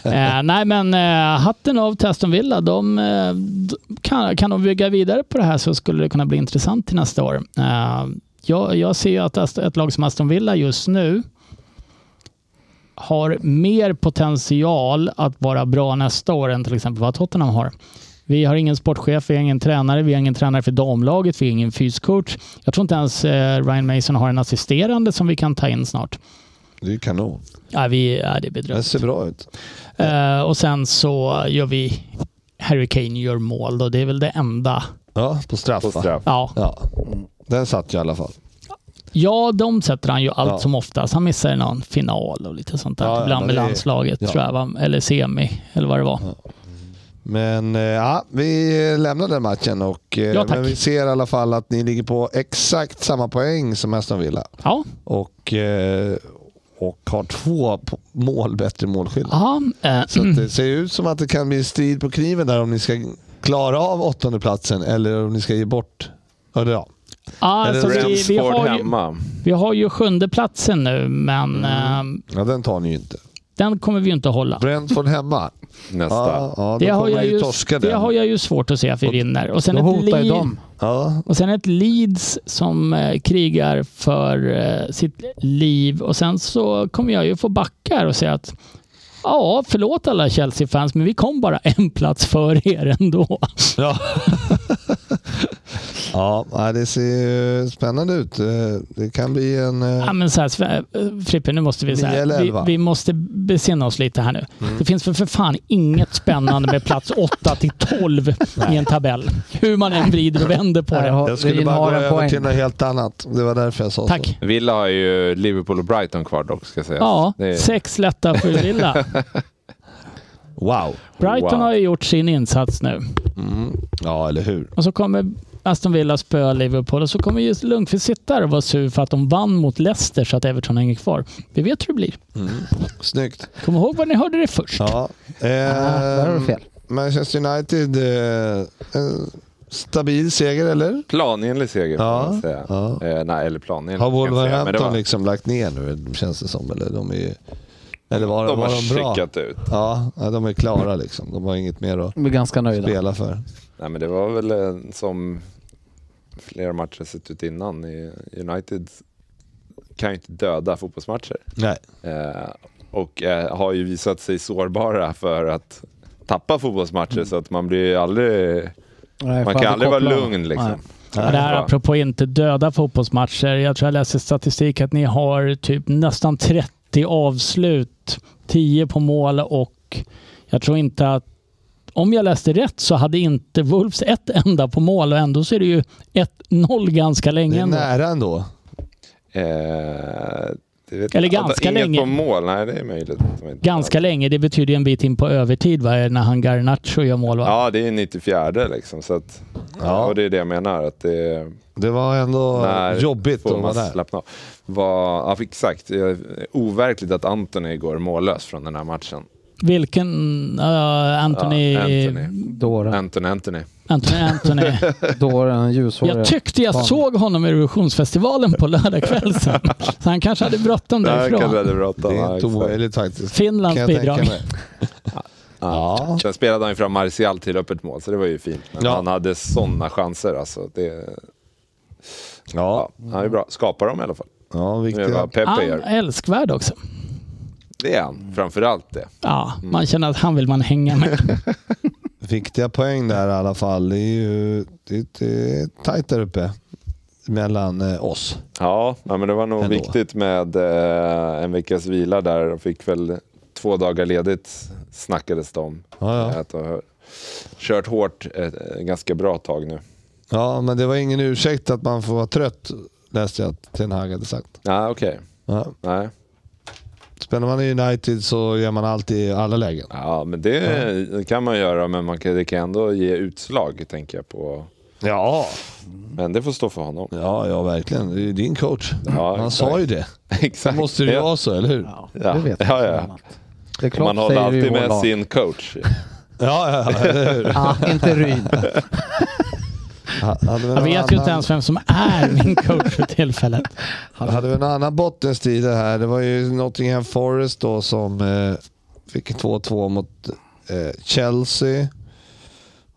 Speaker 4: eh, nej, men eh, hatten av till Aston Villa. De, eh, d- kan, kan de bygga vidare på det här så skulle det kunna bli intressant till nästa år. Eh, jag, jag ser ju att Ast- ett lag som Aston Villa just nu har mer potential att vara bra nästa år än till exempel vad Tottenham har. Vi har ingen sportchef, vi har ingen tränare, vi har ingen tränare för damlaget, vi har ingen fyscoach. Jag tror inte ens eh, Ryan Mason har en assisterande som vi kan ta in snart.
Speaker 3: Det är ju kanon.
Speaker 4: Ja, vi, ja, det är bedrövligt.
Speaker 3: Det ser bra ut.
Speaker 4: Eh, och sen så gör vi Harry Kane gör mål då. Det är väl det enda.
Speaker 3: Ja, på straff
Speaker 6: På
Speaker 3: va?
Speaker 6: straff.
Speaker 4: Ja,
Speaker 3: Ja. Den satt ju i alla fall.
Speaker 4: ja de sätter han ju allt
Speaker 3: Ja.
Speaker 4: som oftast. Han missar i någon final och lite sånt där.
Speaker 3: Ja, ja, men
Speaker 4: ibland med
Speaker 3: det är-
Speaker 4: landslaget
Speaker 3: ja.
Speaker 4: tror jag, va? eller semi eller vad det var.
Speaker 3: Men eh, ja, vi lämnar den matchen och eh,
Speaker 4: Ja, tack.
Speaker 3: men vi ser i alla fall att ni ligger på exakt samma poäng som Aston Villa.
Speaker 4: Ja,
Speaker 3: och, eh, och har två po- mål bättre målskillnad.
Speaker 4: ja. Eh,
Speaker 3: Så att det ser ut som att det kan bli strid på kniven där om ni ska klara av åttondeplatsen eller om ni ska ge bort. Eller ja.
Speaker 4: alltså, vi, vi,
Speaker 6: Brentford
Speaker 4: har ju,
Speaker 6: hemma.
Speaker 3: Mm.
Speaker 4: vi har ju sjunde platsen nu, men eh,
Speaker 3: ja, den tar ni ju inte.
Speaker 4: Den kommer vi ju inte att hålla.
Speaker 3: Brentford hemma.
Speaker 6: nästa.
Speaker 3: Ja, ja, då
Speaker 4: Det har,
Speaker 3: kommer
Speaker 4: jag
Speaker 3: man ju
Speaker 4: ju,
Speaker 3: torska
Speaker 4: det
Speaker 3: den.
Speaker 4: har jag ju svårt att se att vi vinner. Och sen,
Speaker 5: Då
Speaker 4: ett,
Speaker 5: hotar ju
Speaker 4: Leeds-
Speaker 5: dem.
Speaker 3: Ja,
Speaker 4: och sen ett Leeds som eh, krigar för eh, sitt liv. Och sen så kommer jag ju få backa här och säga att ja, förlåt alla Chelsea-fans, men vi kom bara en plats före er ändå.
Speaker 3: Ja. ja, nej, det ser ju spännande ut. Eh, Det kan bli en... eh,
Speaker 4: Ja, men så här, Sve- eh, Frippe, nu måste vi, så
Speaker 3: Nio eller
Speaker 4: här, vi,
Speaker 3: elva? Mm.
Speaker 4: vi måste besinna oss lite här nu. Det finns för, för fan inget spännande med plats 8 till 12 i en tabell. Hur man än vrider och vänder på
Speaker 5: Här
Speaker 4: det.
Speaker 5: har-
Speaker 3: Jag skulle
Speaker 5: Lin
Speaker 3: bara gå
Speaker 5: har
Speaker 3: över
Speaker 5: en poäng.
Speaker 3: till något helt annat. Det var därför jag sa så.
Speaker 4: Tack.
Speaker 6: Villa har ju Liverpool och Brighton kvar dock, ska sägas.
Speaker 4: Ja,
Speaker 6: Det är-
Speaker 4: sex lätta för Villa.
Speaker 3: Wow.
Speaker 4: Brighton
Speaker 6: Wow.
Speaker 4: har ju gjort sin insats nu.
Speaker 3: Mm. Ja, eller hur?
Speaker 4: Och så kommer Aston Villa spöa Liverpool och så kommer just Lundqvist sitta där och vara sur för att de vann mot Leicester så att Everton hänger kvar. Vi vet hur det blir.
Speaker 3: Snyggt.
Speaker 4: Kom ihåg var ni hörde det först.
Speaker 3: Ja.
Speaker 5: Ah, där har du
Speaker 3: Ehm,
Speaker 5: fel.
Speaker 3: Manchester United, eh, en stabil seger eller?
Speaker 6: Planenlig seger får
Speaker 3: Ja,
Speaker 6: man säga.
Speaker 3: ja.
Speaker 6: Eh, nej, eller planenlig.
Speaker 3: Har
Speaker 6: kan jag säga, men det
Speaker 3: Wolverhampton
Speaker 6: var-
Speaker 3: liksom lagt ner nu känns det som? Eller de är ju... Eller var de,
Speaker 6: De
Speaker 3: var
Speaker 6: har
Speaker 3: de bra?
Speaker 6: checkat ut.
Speaker 3: Ja, ja, de är klara liksom. De har inget mer att
Speaker 5: De är ganska nöjda.
Speaker 3: spela för.
Speaker 6: Nej, men det var väl eh, som flera matcher sett ut innan. i- United kan ju inte döda fotbollsmatcher.
Speaker 3: Nej.
Speaker 6: Eh, och eh, har ju visat sig sårbara för att tappa fotbollsmatcher så att man blir ju aldrig...
Speaker 5: Nej,
Speaker 6: Man
Speaker 5: fan,
Speaker 6: kan
Speaker 5: det
Speaker 6: aldrig vara
Speaker 5: kopplar.
Speaker 6: lugn liksom.
Speaker 5: Nej.
Speaker 4: Ja, det här
Speaker 6: Ja.
Speaker 4: apropå inte döda fotbollsmatcher. Jag tror jag läste statistik att ni har typ nästan 30 avslut, 10 på mål och jag tror inte att om jag läste rätt så hade inte Wolves ett enda på mål och ändå så är det ju 1-0 ganska
Speaker 3: Det
Speaker 4: länge.
Speaker 3: är
Speaker 4: ändå.
Speaker 3: nära ändå.
Speaker 6: Eh, det vet
Speaker 4: Eller
Speaker 6: jag inte.
Speaker 4: ganska
Speaker 6: Inget
Speaker 4: länge.
Speaker 6: på mål, nej det är möjligt. att de inte
Speaker 4: Ganska länge, det betyder ju en bit in på övertid va? när han Garnacho gör mål. Va?
Speaker 6: Ja, det är 94 liksom. Så att,
Speaker 3: Ja.
Speaker 6: Och det är det jag menar. Att det är
Speaker 3: Det var ändå
Speaker 6: när
Speaker 3: jobbigt
Speaker 6: får
Speaker 3: att
Speaker 6: man
Speaker 3: vara där.
Speaker 6: slappna av. Var, ja, exakt. Det är Overkligt att Antoni går mållös från den här matchen.
Speaker 4: Vilken? Uh, Anthony...
Speaker 6: Ja, Anthony.
Speaker 5: Dåren.
Speaker 6: Anton Anthony.
Speaker 4: Anthony. Anthony.
Speaker 5: Dåren, ljushåriga.
Speaker 4: Jag tyckte jag såg honom i Eurovisionsfestivalen på lördagskväll sen. Så han kanske hade bråttom därifrån.
Speaker 3: Det är inte
Speaker 6: Därifrån.
Speaker 3: omöjligt faktiskt.
Speaker 4: Finlands
Speaker 3: Kan jag tänka
Speaker 4: bidrag.
Speaker 3: mig. Ja.
Speaker 6: Sen spelade han ju fram Martial till öppet mål, så det var ju fint. Men
Speaker 3: Ja.
Speaker 6: han hade sådana chanser alltså. Det,
Speaker 3: Ja.
Speaker 6: ja, han är bra. Skapar dem i alla fall.
Speaker 3: ja,
Speaker 6: Det är vad
Speaker 3: viktiga.
Speaker 6: Pepe
Speaker 4: Han
Speaker 6: gör.
Speaker 4: är älskvärd också.
Speaker 6: Det är han, framförallt det.
Speaker 4: Ja,
Speaker 3: Mm.
Speaker 4: man känner att han vill man hänga med.
Speaker 3: viktiga poäng där i alla fall. Det är ju det, det är tajt där uppe mellan eh, oss.
Speaker 6: Ja, ja, men det var nog
Speaker 3: Ändå.
Speaker 6: viktigt med eh, en veckas vila där. De fick väl två dagar ledigt, snackades det om.
Speaker 3: Ja, ja.
Speaker 6: Att de har kört hårt ett eh, ganska bra tag nu.
Speaker 3: Ja, men det var ingen ursäkt att man får vara trött, läste jag att Ten Hag hade sagt.
Speaker 6: Nej, okej.
Speaker 3: Ja.
Speaker 6: Nej.
Speaker 3: Spelar man i United så gör man allt i alla lägen.
Speaker 6: Ja, men det kan man göra, men man kan, det kan ändå ge utslag, tänker jag på.
Speaker 3: Ja,
Speaker 6: Men det får stå för honom.
Speaker 3: ja, ja verkligen. Det är ju din coach.
Speaker 6: Ja,
Speaker 3: Han
Speaker 6: exakt.
Speaker 3: sa ju det.
Speaker 6: Exakt.
Speaker 3: Måste det ju vara så, eller hur?
Speaker 5: Ja,
Speaker 6: Ja.
Speaker 5: det vet
Speaker 6: Ja,
Speaker 5: jag.
Speaker 6: ja.
Speaker 5: Det är
Speaker 6: Och
Speaker 5: klart
Speaker 6: Man håller alltid med sin coach.
Speaker 3: Ja, ja, ja. eller hur?
Speaker 5: Ah, inte Ryn.
Speaker 3: Ha- Hade vi
Speaker 4: Jag
Speaker 3: någon
Speaker 4: vet ju inte
Speaker 3: annan-
Speaker 4: ens vem som är min coach för tillfället.
Speaker 3: hade vi en annan bottenstrid här. Det var ju Nottingham Forest då som eh, fick 2-2 mot eh, Chelsea.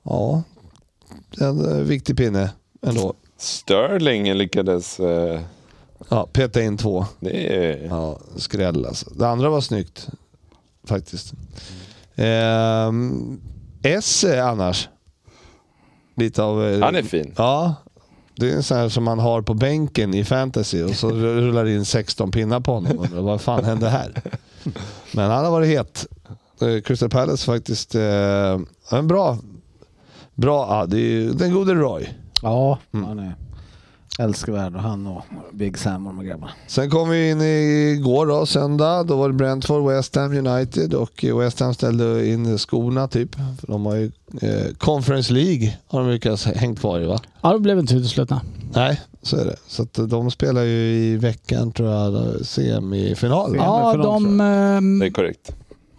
Speaker 3: Ja, en eh, viktig pinne ändå.
Speaker 6: Sterling lyckades... Eh,
Speaker 3: Ja, peta in två.
Speaker 6: det är,
Speaker 3: Ja, skräll alltså. Det andra var snyggt faktiskt. Ehm, Esse annars. Lite av... eh,
Speaker 6: Han är fin.
Speaker 3: Ja. Det är en sån här som man har på bänken i fantasy och så rullar det in 16 pinnar på honom. Och undrar, vad fan hände här? Men han har varit het. Eh, Crystal Palace faktiskt. Eh, en bra... Bra, ja, det är ju den gode Roy.
Speaker 5: Ja, han är älskvärd och han och Big Sam och de här grabbarna.
Speaker 3: Sen kom vi in igår då, söndag. Då var det Brentford, West Ham United och West Ham ställde in skorna typ. För de har ju eh, Conference League har de lyckats hängt kvar i va?
Speaker 4: Ja, det blev inte uteslutna.
Speaker 3: Nej, så är det. Så att de spelar ju i veckan tror jag, då, semifinal.
Speaker 5: Ja,
Speaker 4: Ja,
Speaker 5: men för dem
Speaker 4: de...
Speaker 6: Det
Speaker 4: ehm,
Speaker 6: är korrekt.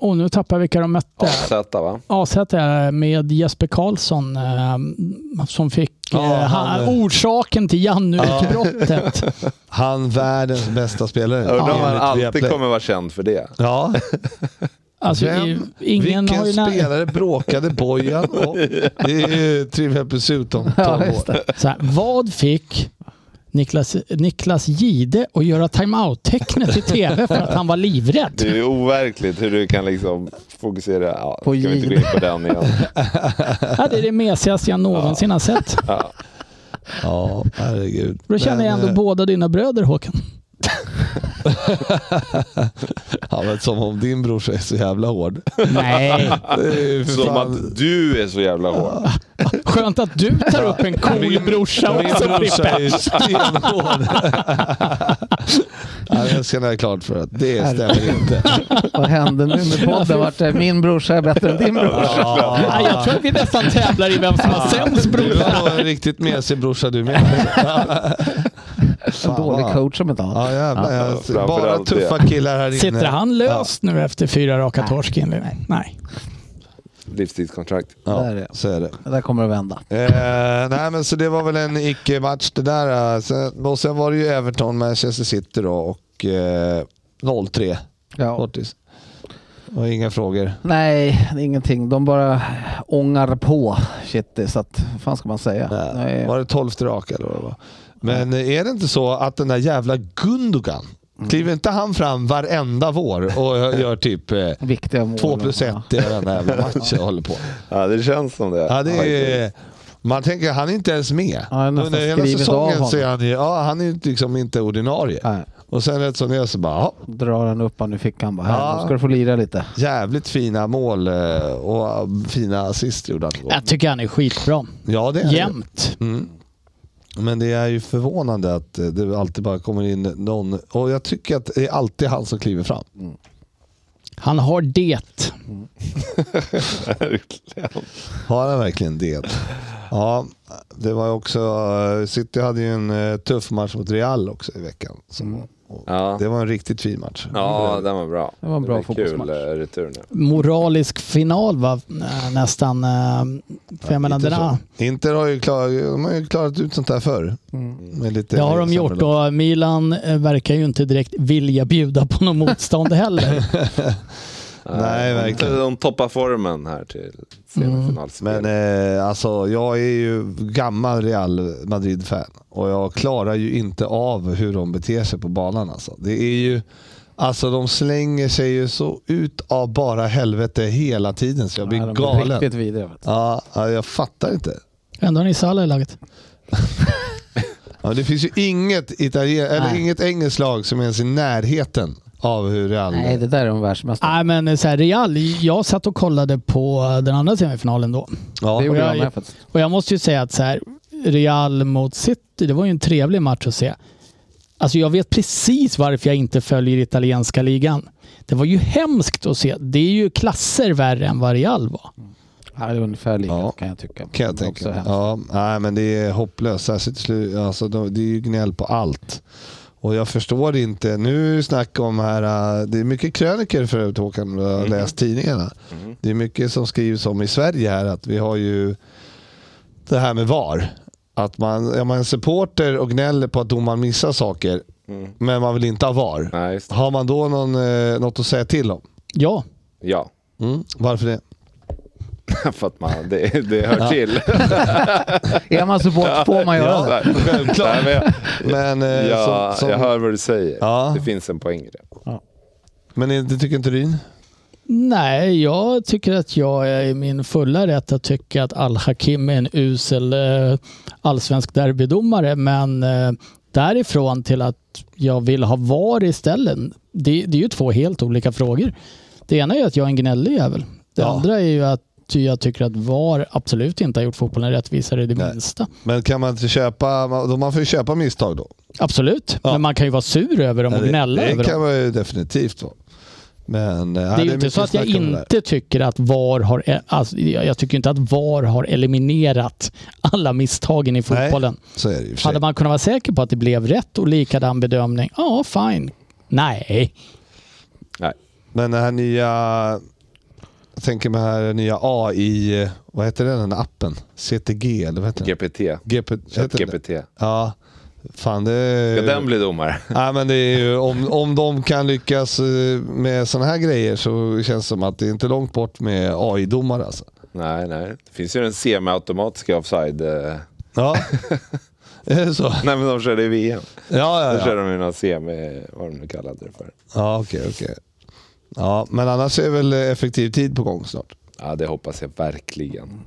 Speaker 4: Åh, nu tappar jag vilka de mötte.
Speaker 6: AZ va?
Speaker 4: AZ är med Jesper Karlsson eh, ehm, som fick
Speaker 3: Ja,
Speaker 4: eh,
Speaker 3: han-
Speaker 4: han, orsaken till Jannu-utbrottet.
Speaker 3: Han världens bästa spelare.
Speaker 6: Jag undrar om han
Speaker 3: Enligt
Speaker 6: alltid
Speaker 3: Viaplay.
Speaker 6: kommer vara känd för det.
Speaker 3: Ja.
Speaker 4: Alltså, i-
Speaker 3: Vem,
Speaker 4: ingen
Speaker 3: vilken
Speaker 4: har ju när-
Speaker 3: spelare bråkade Bojan om? Det är ju Trivial Pursuit om 12
Speaker 5: Ja, just
Speaker 3: år.
Speaker 5: det.
Speaker 4: Så här, vad fick Niklas, Niklas Gide att göra timeout-tecknet i tv för att han var
Speaker 6: Det
Speaker 4: livrädd?
Speaker 6: är ju overkligt hur du kan liksom fokusera. Ja,
Speaker 5: På
Speaker 6: ska vi inte gå in
Speaker 5: Gino.
Speaker 6: på den igen.
Speaker 4: Ja, det är det mesigaste jag någonsin har sett.
Speaker 3: Ja, herregud.
Speaker 4: Då känner jag
Speaker 3: Men,
Speaker 4: ändå
Speaker 3: eh,
Speaker 4: båda dina bröder Håkan.
Speaker 3: eh, Ja, men som om din brorsa är så jävla hård.
Speaker 4: Nej,
Speaker 3: Det är ju för
Speaker 6: Som
Speaker 3: fan-
Speaker 6: att du är så jävla hård.
Speaker 4: skönt att du tar upp en cool
Speaker 3: Min-
Speaker 4: brorsa
Speaker 3: Min
Speaker 4: också
Speaker 3: brorsa
Speaker 4: Frippe.
Speaker 3: är stenhård. ja, jag ska ha klart för att det stämmer inte.
Speaker 5: Vad hände nu med podden? Vart är min brorsa är bättre än din brorsa?
Speaker 4: Ja, jag tror att vi nästan tävlar i vem som har sämst
Speaker 3: Du
Speaker 4: brorsa.
Speaker 3: har nog en riktigt mesig brorsa du med.
Speaker 5: En dålig
Speaker 3: vad-
Speaker 5: coach som inte har.
Speaker 3: Ja, jävlar, jag-
Speaker 6: framför
Speaker 3: bara
Speaker 6: allt
Speaker 3: tuffa killar här inne.
Speaker 4: Sitter han löst nu efter fyra raka torsk inledning? Nej.
Speaker 6: Livstidskontrakt.
Speaker 5: Där är
Speaker 3: Ja,
Speaker 5: det.
Speaker 3: så är det.
Speaker 5: Det där kommer att vända.
Speaker 3: Eh, nej, men så det var väl en icke-match det där. eh. Sen, och sen var det ju Everton-Manchester City då och eh, 0-3
Speaker 5: Ja.
Speaker 3: kortis. Och inga frågor.
Speaker 5: Nej, det är ingenting. De bara ångar på. Shit, det är så att, vad fan ska man säga? Nej.
Speaker 3: Var det 12 raka eller vad det var? Men eh, är det inte så att den där jävla Gundogan,
Speaker 5: Mm.
Speaker 3: kliver inte han fram varenda vår och gör typ eh,
Speaker 5: Viktiga mål.
Speaker 3: 2 plus 1
Speaker 5: Ja.
Speaker 3: i varenda jävla match och håller på?
Speaker 6: Ja, det känns som det.
Speaker 3: Ja, det är,
Speaker 6: faktiskt.
Speaker 3: man tänker han är inte ens med.
Speaker 5: Ja, han har
Speaker 3: Under
Speaker 5: nästan
Speaker 3: hela
Speaker 5: skrivit av
Speaker 3: säsongen
Speaker 5: honom.
Speaker 3: så är han ju, ja, han är ju liksom inte ordinarie.
Speaker 5: Nej,
Speaker 3: Och sen rätt som det är så bara, ja,
Speaker 5: drar han upp han i fickan bara.
Speaker 3: Ja.
Speaker 5: Här, nu ska du få lira lite.
Speaker 3: jävligt fina mål eh, och fina assist gjorde han igår.
Speaker 4: Jag tycker han är skitbra.
Speaker 3: Ja, det är det.
Speaker 4: Jämt.
Speaker 3: Mm. Men det är ju förvånande att eh, det alltid bara kommer in någon. Och jag tycker att det är alltid han som kliver fram.
Speaker 4: Han har det.
Speaker 6: Verkligen.
Speaker 3: Har han verkligen det? Ja, det var ju också... eh, City hade ju en eh, tuff match mot Real också i veckan. Så,
Speaker 4: Mm.
Speaker 3: och
Speaker 6: Ja.
Speaker 3: Det var en riktigt fin match.
Speaker 6: Ja, den var bra.
Speaker 5: Det var en bra
Speaker 6: blir
Speaker 5: fotbollsmatch.
Speaker 6: Kul eh, retur nu.
Speaker 4: Moralisk final va? Eh, nästan. eh, För jag menar,
Speaker 3: Lite
Speaker 4: den här,
Speaker 3: så. Inter har ju, klar, de har ju klarat ut sånt här förr.
Speaker 5: Mm.
Speaker 3: Med lite
Speaker 4: det har de gjort och Milan eh, verkar ju inte direkt vilja bjuda på något motstånd heller.
Speaker 3: Nej,
Speaker 6: de-
Speaker 3: verkligen.
Speaker 6: De toppar formen här till semifinalspel.
Speaker 3: Men eh, alltså, jag är ju gammal Real Madrid-fan och jag klarar ju inte av hur de beter sig på banan. Alltså. Det är ju, alltså de slänger sig ju så ut av bara helvete hela tiden så jag blir
Speaker 5: Nej, de
Speaker 3: galen.
Speaker 5: Riktigt vidriga. Vet du.
Speaker 3: Ja, ja, jag fattar inte.
Speaker 4: Ändå har ni Salah i laget.
Speaker 3: Ja, det finns ju inget, italien- eller
Speaker 5: Nej.
Speaker 3: inget engelskt lag som ens är i närheten av hur Real...
Speaker 5: Nej, det där är de världsmästare.
Speaker 4: Nej men eh, så här, Real, jag satt och kollade på eh, den andra semifinalen då.
Speaker 5: Det
Speaker 3: ja,
Speaker 5: gjorde
Speaker 4: jag-
Speaker 5: jag med faktiskt.
Speaker 4: Och jag måste ju säga att så här, Real mot City, det var ju en trevlig match att se. Alltså jag vet precis varför jag inte följer italienska ligan. Det var ju hemskt att se. Det är ju klasser värre än vad Real var.
Speaker 5: Ja, det är ungefär lika
Speaker 3: Ja.
Speaker 5: kan jag tycka.
Speaker 3: kan jag
Speaker 5: Det är också
Speaker 3: tänka mig.
Speaker 5: hemskt.
Speaker 3: Ja, nej, men det är hopplöst. Särskilt i slu- alltså, de- det är ju gnäll på allt. Och jag förstår inte. Nu är det snack om här, äh, det är mycket kröniker för övrigt Håkan, jag
Speaker 6: Mm.
Speaker 3: har läst tidningarna. Det är mycket som skrivs om i Sverige här att vi har ju det här med VAR. Att man, är man en supporter och gnäller på att domaren missar saker, men man vill inte ha VAR.
Speaker 6: Mm. Nej, just det.
Speaker 3: Har man då någon, eh, något att säga till om?
Speaker 4: Ja,
Speaker 6: Ja,
Speaker 3: Mm. Varför det?
Speaker 6: för att man, det, det hör till.
Speaker 5: Är man support får man göra det.
Speaker 6: Självklart. Nej, men jag,
Speaker 3: Men, eh,
Speaker 6: jag,
Speaker 3: som, som,
Speaker 6: jag hör vad du säger.
Speaker 3: Ja.
Speaker 6: Det finns en poäng i det.
Speaker 3: men eh, det tycker inte Ryn?
Speaker 4: nej, jag tycker att jag är i min fulla rätt att tycka att Al-Hakim är en usel eh, allsvensk derbydomare, men eh, därifrån till att jag vill ha VAR istället, det, det är ju två helt olika frågor. Det ena är ju att jag är en gnällig jävel. Det
Speaker 3: Ja.
Speaker 4: andra är ju att jag tycker att VAR absolut inte har gjort fotbollen rättvisare i det
Speaker 3: Nej.
Speaker 4: minsta.
Speaker 3: Men kan man inte köpa, man man får ju köpa misstag då.
Speaker 4: Absolut,
Speaker 3: Ja.
Speaker 4: men man kan ju vara sur över dem och gnälla
Speaker 3: det
Speaker 4: över
Speaker 3: kan
Speaker 4: dem.
Speaker 3: man ju definitivt vara. Men eh,
Speaker 4: Det är ju inte så att jag inte tycker att VAR har... Alltså, jag jag tycker inte att VAR har eliminerat alla misstagen i fotbollen.
Speaker 3: Så är det ju i och för sig.
Speaker 4: Hade man kunnat vara säker på att det blev rätt och likadan bedömning, ja fine. Nej.
Speaker 6: Nej.
Speaker 3: Men den här nya tänker mig här nya AI, vad heter den, den appen? CTG eller vad heter den?
Speaker 6: GPT.
Speaker 3: GP, heter den det?
Speaker 6: GPT.
Speaker 3: Ja, fan det...
Speaker 4: Eh,
Speaker 6: Ska den bli domare?
Speaker 3: Nej, men det är ju, om, om de kan lyckas eh, med sådana här grejer så känns det som att det är inte långt bort med AI-domare alltså.
Speaker 6: Nej, nej. Det finns ju den semiautomatiska offside... eh.
Speaker 3: Ja, är det så?
Speaker 6: Nej, men de körde i VM.
Speaker 3: Ja,
Speaker 6: Då
Speaker 3: ja,
Speaker 6: körde
Speaker 3: ja.
Speaker 6: de ju någon semi, vad de nu kallade det för.
Speaker 3: ja okej, okej. Ja, men annars är väl effektiv tid på gång snart.
Speaker 6: Ja, det hoppas jag verkligen.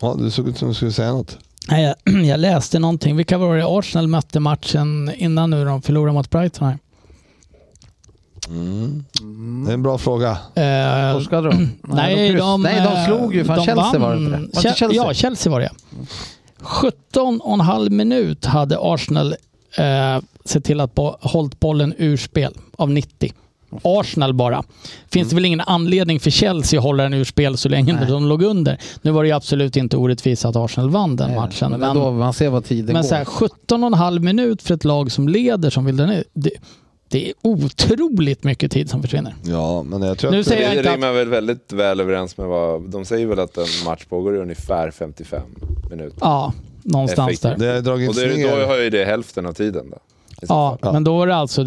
Speaker 3: Ja, du såg ut som du skulle säga något.
Speaker 4: Nej, jag- jag läste någonting. Vilka var det Arsenal mötte matchen innan nu de förlorade mot Brighton här? Mm.
Speaker 3: Det är en bra fråga.
Speaker 4: Eh,
Speaker 5: Torskade de?
Speaker 4: nej,
Speaker 5: kryss-
Speaker 4: de, eh,
Speaker 5: nej, de slog ju. Fan,
Speaker 4: de
Speaker 5: Chelsea
Speaker 4: vann.
Speaker 5: var det inte det? Var inte
Speaker 4: Che-
Speaker 5: Chelsea?
Speaker 4: Ja, Chelsea var det. 17 och en halv minut hade Arsenal eh, sett till att bo- hållit bollen ur spel av 90. Arsenal bara. Finns det väl ingen anledning för Chelsea att hålla den ur spel så länge
Speaker 5: Mm. Nej.
Speaker 4: de låg under. Nu var det ju absolut inte orättvist att Arsenal vann den
Speaker 5: Nej,
Speaker 4: matchen.
Speaker 5: Men ändå, man ser vad tiden
Speaker 4: Men
Speaker 5: går.
Speaker 4: så här, 17 och en halv minut för ett lag som leder som vill den ut. Det, det är otroligt mycket tid som försvinner.
Speaker 3: Ja, men jag tror
Speaker 4: Nu
Speaker 3: att...
Speaker 4: säger jag
Speaker 6: Det
Speaker 4: inte att-
Speaker 6: rimmar väl väldigt väl överens med vad... De säger väl att en match pågår i ungefär 55 minuter.
Speaker 4: Ja, någonstans
Speaker 6: Effektivt.
Speaker 4: där.
Speaker 3: Det har
Speaker 6: Och
Speaker 3: dragits
Speaker 6: då, är det- då
Speaker 3: ner.
Speaker 6: har ju det hälften av tiden då. I så
Speaker 4: Ja,
Speaker 3: Ja.
Speaker 4: men då är det alltså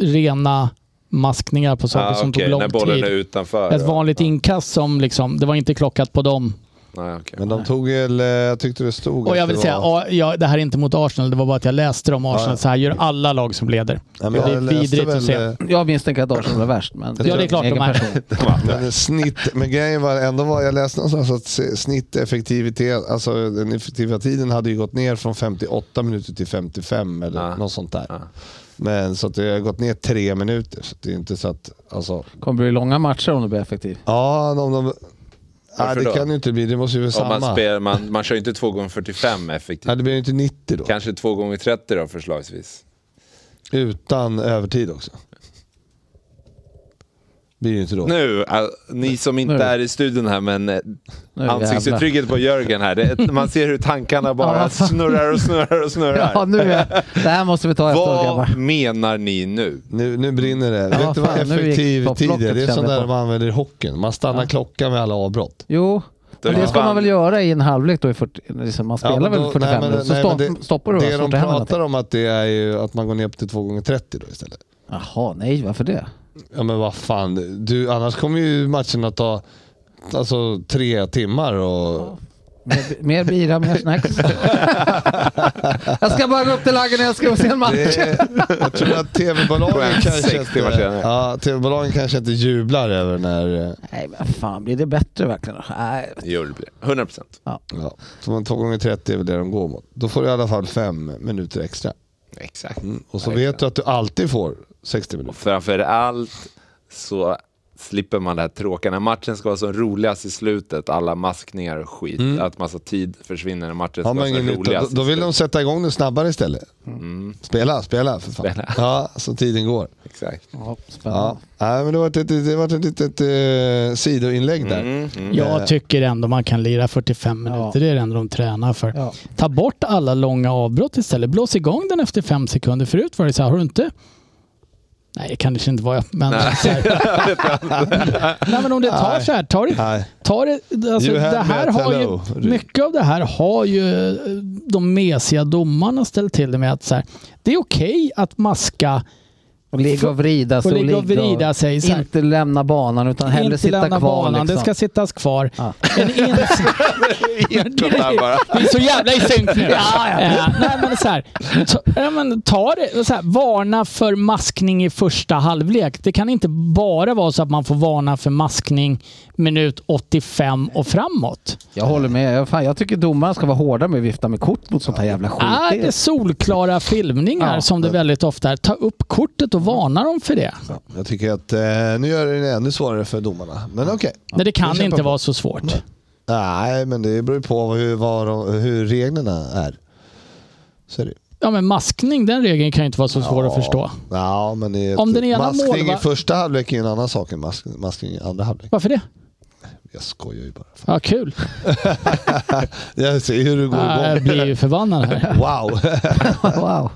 Speaker 4: rena maskningar på saker
Speaker 6: Ah,
Speaker 4: som
Speaker 6: okej,
Speaker 4: tog
Speaker 6: när
Speaker 4: lång
Speaker 6: bollen är
Speaker 4: tid.
Speaker 6: utanför.
Speaker 4: Ett
Speaker 6: då.
Speaker 4: vanligt inkast som liksom, det var inte klockat på dem.
Speaker 6: Nej, okej.
Speaker 3: Men de tog väl, eh, jag tyckte det stod...
Speaker 4: Och jag
Speaker 3: att
Speaker 4: vill
Speaker 3: det
Speaker 4: säga,
Speaker 3: var-
Speaker 4: ja, ja, det här är inte mot Arsenal, det var bara att jag läste om Arsenal.
Speaker 3: Ja.
Speaker 4: Så här gör alla lag som leder.
Speaker 6: Mm.
Speaker 3: Nej,
Speaker 4: det är
Speaker 3: jag läste
Speaker 4: vidrigt att se.
Speaker 3: eh,
Speaker 5: Jag misstänker att Arsenal är värst, men...
Speaker 4: Ja, det är klart de
Speaker 5: Egen
Speaker 4: är.
Speaker 5: person.
Speaker 3: Men snitt, men grejen var ändå var, jag läste någonstans att se- snitteffektivitet, alltså den effektiva tiden hade ju gått ner från 58 minuter till 55 eller
Speaker 4: Ah.
Speaker 6: Ja.
Speaker 3: något sånt där.
Speaker 6: Ja.
Speaker 3: Men så att det har gått ner tre minuter. Så det är inte så att, alltså,
Speaker 5: kommer bli långa matcher om du blir effektiv.
Speaker 3: ja, om de, nej,
Speaker 6: Varför
Speaker 3: det
Speaker 6: då?
Speaker 3: kan ju inte bli, det måste ju vara
Speaker 6: Om
Speaker 3: samma.
Speaker 6: man, spelar, man, man kör ju inte 2 gånger 45 effektivt.
Speaker 3: Nej, det blir ju inte 90 då.
Speaker 6: Kanske 2 gånger 30 då förslagsvis.
Speaker 3: Utan övertid också. blir ju inte då.
Speaker 6: Nu, äh, ni som inte
Speaker 5: Nu.
Speaker 6: är i studion här men eh,
Speaker 5: Nu
Speaker 6: ansiktsuttrycket på Jörgen här. Det, är- man ser hur tankarna bara
Speaker 5: Ja, fan.
Speaker 6: snurrar och snurrar och snurrar.
Speaker 5: Ja, nu är Det här måste vi ta efteråt grabbar.
Speaker 6: Vad menar ni nu?
Speaker 3: Nu, nu brinner det. Vet du vad
Speaker 5: fan, nu gick
Speaker 3: effektiv tid
Speaker 5: topplocket,
Speaker 3: är? Det är sånt
Speaker 5: kände jag
Speaker 3: där
Speaker 5: på.
Speaker 3: man använder i hockeyn. Man stannar klockan med alla avbrott.
Speaker 5: Jo,
Speaker 6: Det
Speaker 5: det,
Speaker 6: är
Speaker 5: det ska
Speaker 6: fan-
Speaker 5: man väl göra i en halvlek då i 40, liksom, man spelar
Speaker 3: men
Speaker 5: väl
Speaker 3: då-
Speaker 5: 45
Speaker 3: nej, men-
Speaker 5: minuter, så
Speaker 3: nej,
Speaker 5: stopp,
Speaker 3: men
Speaker 5: stoppar du och
Speaker 3: Det de
Speaker 5: startar hem någonting.
Speaker 3: pratar om att det är ju att man går ner upp till 2 gånger 30 då istället.
Speaker 5: Jaha, nej varför det?
Speaker 3: Ja men vad fan, du, annars kommer ju matcherna ta alltså, tre timmar. Och,
Speaker 5: Mer, mer bira, mer snacks. jag ska bara gå upp till lagen när jag ska se en match.
Speaker 3: det, jag tror att
Speaker 6: På
Speaker 3: tv-bolagen
Speaker 6: en
Speaker 3: kanske,
Speaker 6: sex
Speaker 3: inte,
Speaker 6: timmar senare.
Speaker 3: ja, TV-bolagen kanske inte jublar över när... eh,
Speaker 5: Nej men fan, blir det bättre verkligen? Nej.
Speaker 6: Jo, det blir 100 procent.
Speaker 3: Ja, så man 2 gånger 30 är väl det de går mot. Då får du i alla fall fem minuter extra.
Speaker 6: Exakt.
Speaker 3: Och så
Speaker 6: Nej,
Speaker 3: vet du att du alltid får 60
Speaker 6: Mm. Och
Speaker 3: minuter.
Speaker 6: framförallt så slipper man det här tråkiga. När matchen ska vara som roligast i slutet, alla maskningar och skit. Att massa tid försvinner när matchen ska
Speaker 3: Ja,
Speaker 6: vara
Speaker 3: men
Speaker 6: som
Speaker 3: ingen nytta. Då,
Speaker 6: roligast.
Speaker 3: då
Speaker 6: i
Speaker 3: vill de
Speaker 6: slutet. Mm,
Speaker 3: sätta igång den snabbare istället. Spela, spela för fan.
Speaker 6: Spela.
Speaker 3: Ja, så tiden går.
Speaker 6: Exakt.
Speaker 5: Ja,
Speaker 3: Ja,
Speaker 5: spännande.
Speaker 3: nej, men det var ett, ett, det var ett litet eh, sidoinlägg där.
Speaker 6: Mm.
Speaker 4: Jag tycker ändå man kan lira 45 minuter. Det är det enda de tränar för.
Speaker 5: Ja.
Speaker 4: Ta bort alla långa avbrott istället. Blås igång den efter fem sekunder. Förut var det så här, har du inte... Nej, det kan det inte vara. Men, så här. Nej, men om det tar så här, tar det...
Speaker 3: Nej.
Speaker 4: Tar det alltså,
Speaker 3: You had
Speaker 4: det här
Speaker 3: met,
Speaker 4: har ju,
Speaker 3: hello.
Speaker 4: mycket av det här har ju eh, de mesiga domarna ställt till det med. att så här, Det är okej att maska
Speaker 5: Och ligga och vrida sig
Speaker 4: och ligga och vrida sig. Så här.
Speaker 5: Inte lämna banan utan hellre
Speaker 4: Inte
Speaker 5: sitta
Speaker 4: lämna
Speaker 5: kvar.
Speaker 4: banan,
Speaker 5: liksom.
Speaker 4: det ska sittas kvar.
Speaker 5: Ja.
Speaker 4: En ins-
Speaker 6: Ekot där bara.
Speaker 4: Vi är så jävla i synk nu. Eh, nej, men så här, ta, ja, men ta det, så här, varna för maskning i första halvlek. Det kan inte bara vara så att man får varna för maskning minut 85 och framåt.
Speaker 5: Jag håller med. Jag, fan, jag tycker domaren ska vara hårdare med att vifta med kort mot sånt här jävla skit.
Speaker 4: Är Ah, det solklara filmningar
Speaker 5: Ja.
Speaker 4: som det väldigt ofta är, ta upp kortet och varna dem för det.
Speaker 3: Ja, jag tycker att eh, nu gör det det ännu svårare för domarna. Men okej.
Speaker 4: Nej, det
Speaker 3: Vi
Speaker 4: kan
Speaker 3: kämpar
Speaker 4: inte
Speaker 3: på.
Speaker 4: vara så svårt.
Speaker 3: Nej, men det beror ju på vad- hur, vad de- hur reglerna är. Så är det. ju.
Speaker 4: Ja, men maskning, den regeln kan ju inte vara så svår att förstå.
Speaker 3: Ja, men det är typ
Speaker 4: Om den ena
Speaker 3: maskning
Speaker 4: målva-
Speaker 3: i första halvlek är en annan sak än mask, maskning i andra halvlek.
Speaker 4: Varför det?
Speaker 3: Jag skojar ju bara.
Speaker 4: Ja, kul.
Speaker 3: Jag ser hur du går
Speaker 4: Ja, jag
Speaker 3: igång.
Speaker 4: blir ju förbannad här.
Speaker 3: Wow!
Speaker 5: Wow.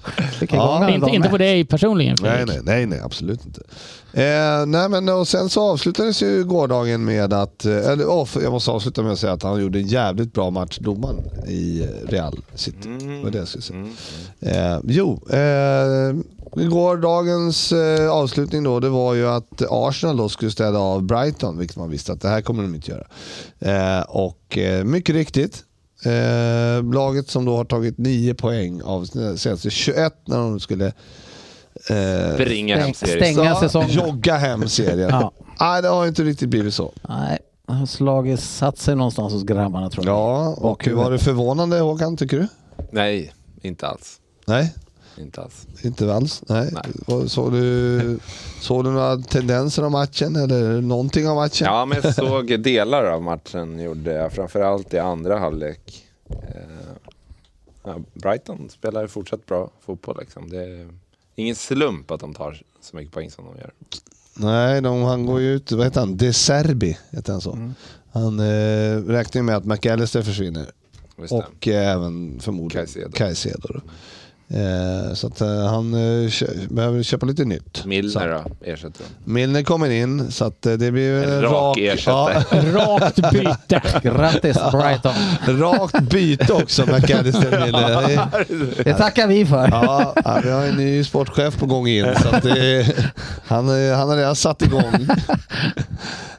Speaker 5: Vilken
Speaker 3: Ja.
Speaker 5: gång han
Speaker 4: Inte,
Speaker 5: var
Speaker 4: inte
Speaker 5: med.
Speaker 4: på dig personligen
Speaker 3: nej,
Speaker 4: Fredrik.
Speaker 3: nej, nej, nej, absolut inte. Eh, nej, men och sen så avslutades ju gårdagen med att, eh, eller ja, för- jag måste avsluta med att säga att han gjorde en jävligt bra match, domaren, i Real City. Det var det jag skulle säga. Eh, jo, eh, igår dagens eh, avslutning då, det var ju att Arsenal då skulle städa av Brighton, vilket man visste att det här kommer de inte göra. Eh, och eh, mycket riktigt, eh, laget som då har tagit 9 poäng av sina senaste 21 när de skulle eh,
Speaker 6: Bringa hem serien.
Speaker 5: Stäng- Stänga
Speaker 3: Ja,
Speaker 5: säsongen.
Speaker 3: Jogga hem serien.
Speaker 5: Ja.
Speaker 3: Nej, det har inte riktigt blivit så.
Speaker 5: Nej, han har slagit satt sig någonstans hos grabbarna tror jag.
Speaker 3: Ja, och
Speaker 5: Bakhuvudet.
Speaker 3: var det förvånande Håkan, tycker du?
Speaker 6: Nej, inte alls.
Speaker 3: Nej,
Speaker 6: Inte alls.
Speaker 3: inte alls. Nej.
Speaker 6: Nej.
Speaker 3: Och Såg, du, såg du några tendenser av matchen eller någonting av matchen?
Speaker 6: Ja, men jag såg delar av matchen, gjorde jag. Framförallt i andra halvlek. Eh, ja, Brighton spelar fortsatt bra fotboll. Liksom. Det är ingen slump att de tar så mycket poäng som de gör.
Speaker 3: Nej, de, han går ju ut, vad heter han? De Serbi, heter han så.
Speaker 6: Mm.
Speaker 3: Han eh, räknar ju med att McAllister försvinner.
Speaker 6: Just det.
Speaker 3: Och eh, även förmodligen
Speaker 6: Caicedo.
Speaker 3: Caicedo. då. Eh, så att eh, han eh, kö- behöver köpa lite nytt. Så-
Speaker 6: Milner då, ersätter dem.
Speaker 3: Milner kommer in, så att eh, det blir ju
Speaker 6: En rak ersättare.
Speaker 4: Rakt byte.
Speaker 5: Grattis Brighton.
Speaker 3: Ja, rakt byte också, McAllister Milner. Det-
Speaker 5: Det tackar vi för.
Speaker 3: Ja, ja, vi har en ny sportchef på gång in, så att det, är- han, är- han har redan satt igång.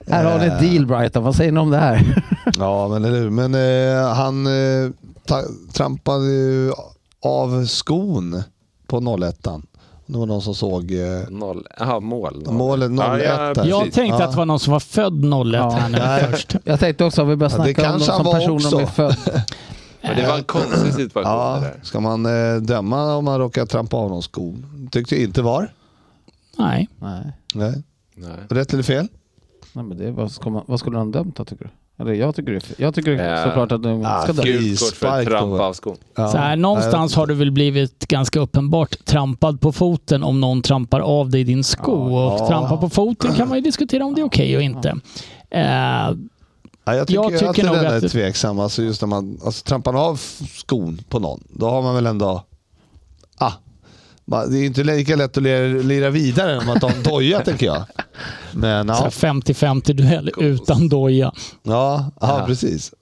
Speaker 5: Här har ni ett deal Brighton, vad säger ni om det här?
Speaker 3: Ja, men eller hur. Men eh, han eh, ta, trampade ju av skon på 01 Det var någon som såg eh,
Speaker 6: Noll. Aha, mål.
Speaker 3: målet 01
Speaker 6: Ja, ja,
Speaker 3: där.
Speaker 6: precis.
Speaker 4: Jag tänkte att det var någon som var född 01 här nu först.
Speaker 5: Jag tänkte också, vi börjar
Speaker 3: Ja, det
Speaker 5: snacka om dem
Speaker 3: kanske han
Speaker 5: som
Speaker 3: var
Speaker 5: personer
Speaker 3: också.
Speaker 5: de är född.
Speaker 6: Men det var en konstig situation det
Speaker 3: Ja,
Speaker 6: där.
Speaker 3: ska man eh, döma om man råkar trampa av någon sko? Tyckte inte var.
Speaker 4: Nej.
Speaker 5: Nej.
Speaker 3: Nej.
Speaker 6: Nej.
Speaker 3: Rätt eller fel?
Speaker 5: Nej, men det, vad, ska man, vad skulle han dömt då tycker du? Eller jag tycker, det, jag tycker
Speaker 6: Eh,
Speaker 5: såklart att de
Speaker 3: ah,
Speaker 5: ska dö.
Speaker 3: gud.
Speaker 6: Gult kort för
Speaker 3: Frispark då,
Speaker 6: trampa
Speaker 3: va?
Speaker 6: av skon.
Speaker 3: Ja.
Speaker 4: Så här, någonstans har du väl blivit ganska uppenbart trampad på foten om någon trampar av dig din sko.
Speaker 5: Ja.
Speaker 4: Och trampa på foten kan man ju diskutera om det är okej och inte. Eh,
Speaker 3: Ja, jag tycker,
Speaker 4: Jag
Speaker 3: ju att
Speaker 4: tycker
Speaker 3: det
Speaker 4: nog
Speaker 3: där
Speaker 4: att-
Speaker 3: är tveksam. Alltså just när man alltså, trampar av skon på någon, då har man väl ändå... Ah, bara- det är inte lika lätt att lira, lira vidare om att ta en doja, tänker jag. Men
Speaker 4: så
Speaker 3: ja,
Speaker 4: här 50-50 duell utan doja.
Speaker 3: ja, ja precis.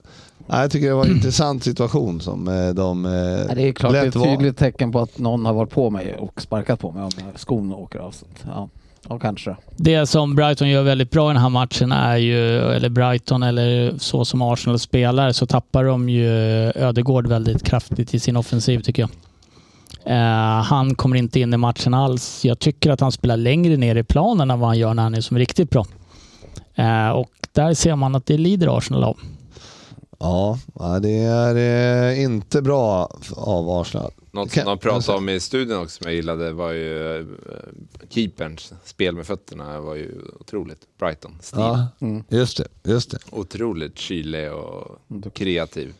Speaker 3: Ja, jag tycker det var en intressant situation som eh, de eh,
Speaker 5: Nej, det är klart det är
Speaker 3: lät
Speaker 5: ett
Speaker 3: vara.
Speaker 5: tydligt tecken på att någon har varit på mig och sparkat på mig om skon åker av. Så att, ja. ja, kanske.
Speaker 4: Det som Brighton gör väldigt bra i den här matchen är ju, eller Brighton eller så som Arsenal spelar, så tappar de ju Ödegård väldigt kraftigt i sin offensiv tycker jag. Eh, han kommer inte in i matchen alls. Jag tycker att han spelar längre ner i planen än vad han gör när han är som riktigt bra. Eh, och där ser man att det lider Arsenal av.
Speaker 3: Ja, ja, det är eh, inte bra f- av Arsenal.
Speaker 6: Något
Speaker 3: Kan-
Speaker 6: som de pratade om i studion också som jag gillade var ju eh, keeperns spel med fötterna var ju otroligt. Brighton-stil.
Speaker 3: Ja,
Speaker 4: Mm.
Speaker 3: just det, just det.
Speaker 6: Otroligt kylig och kreativ.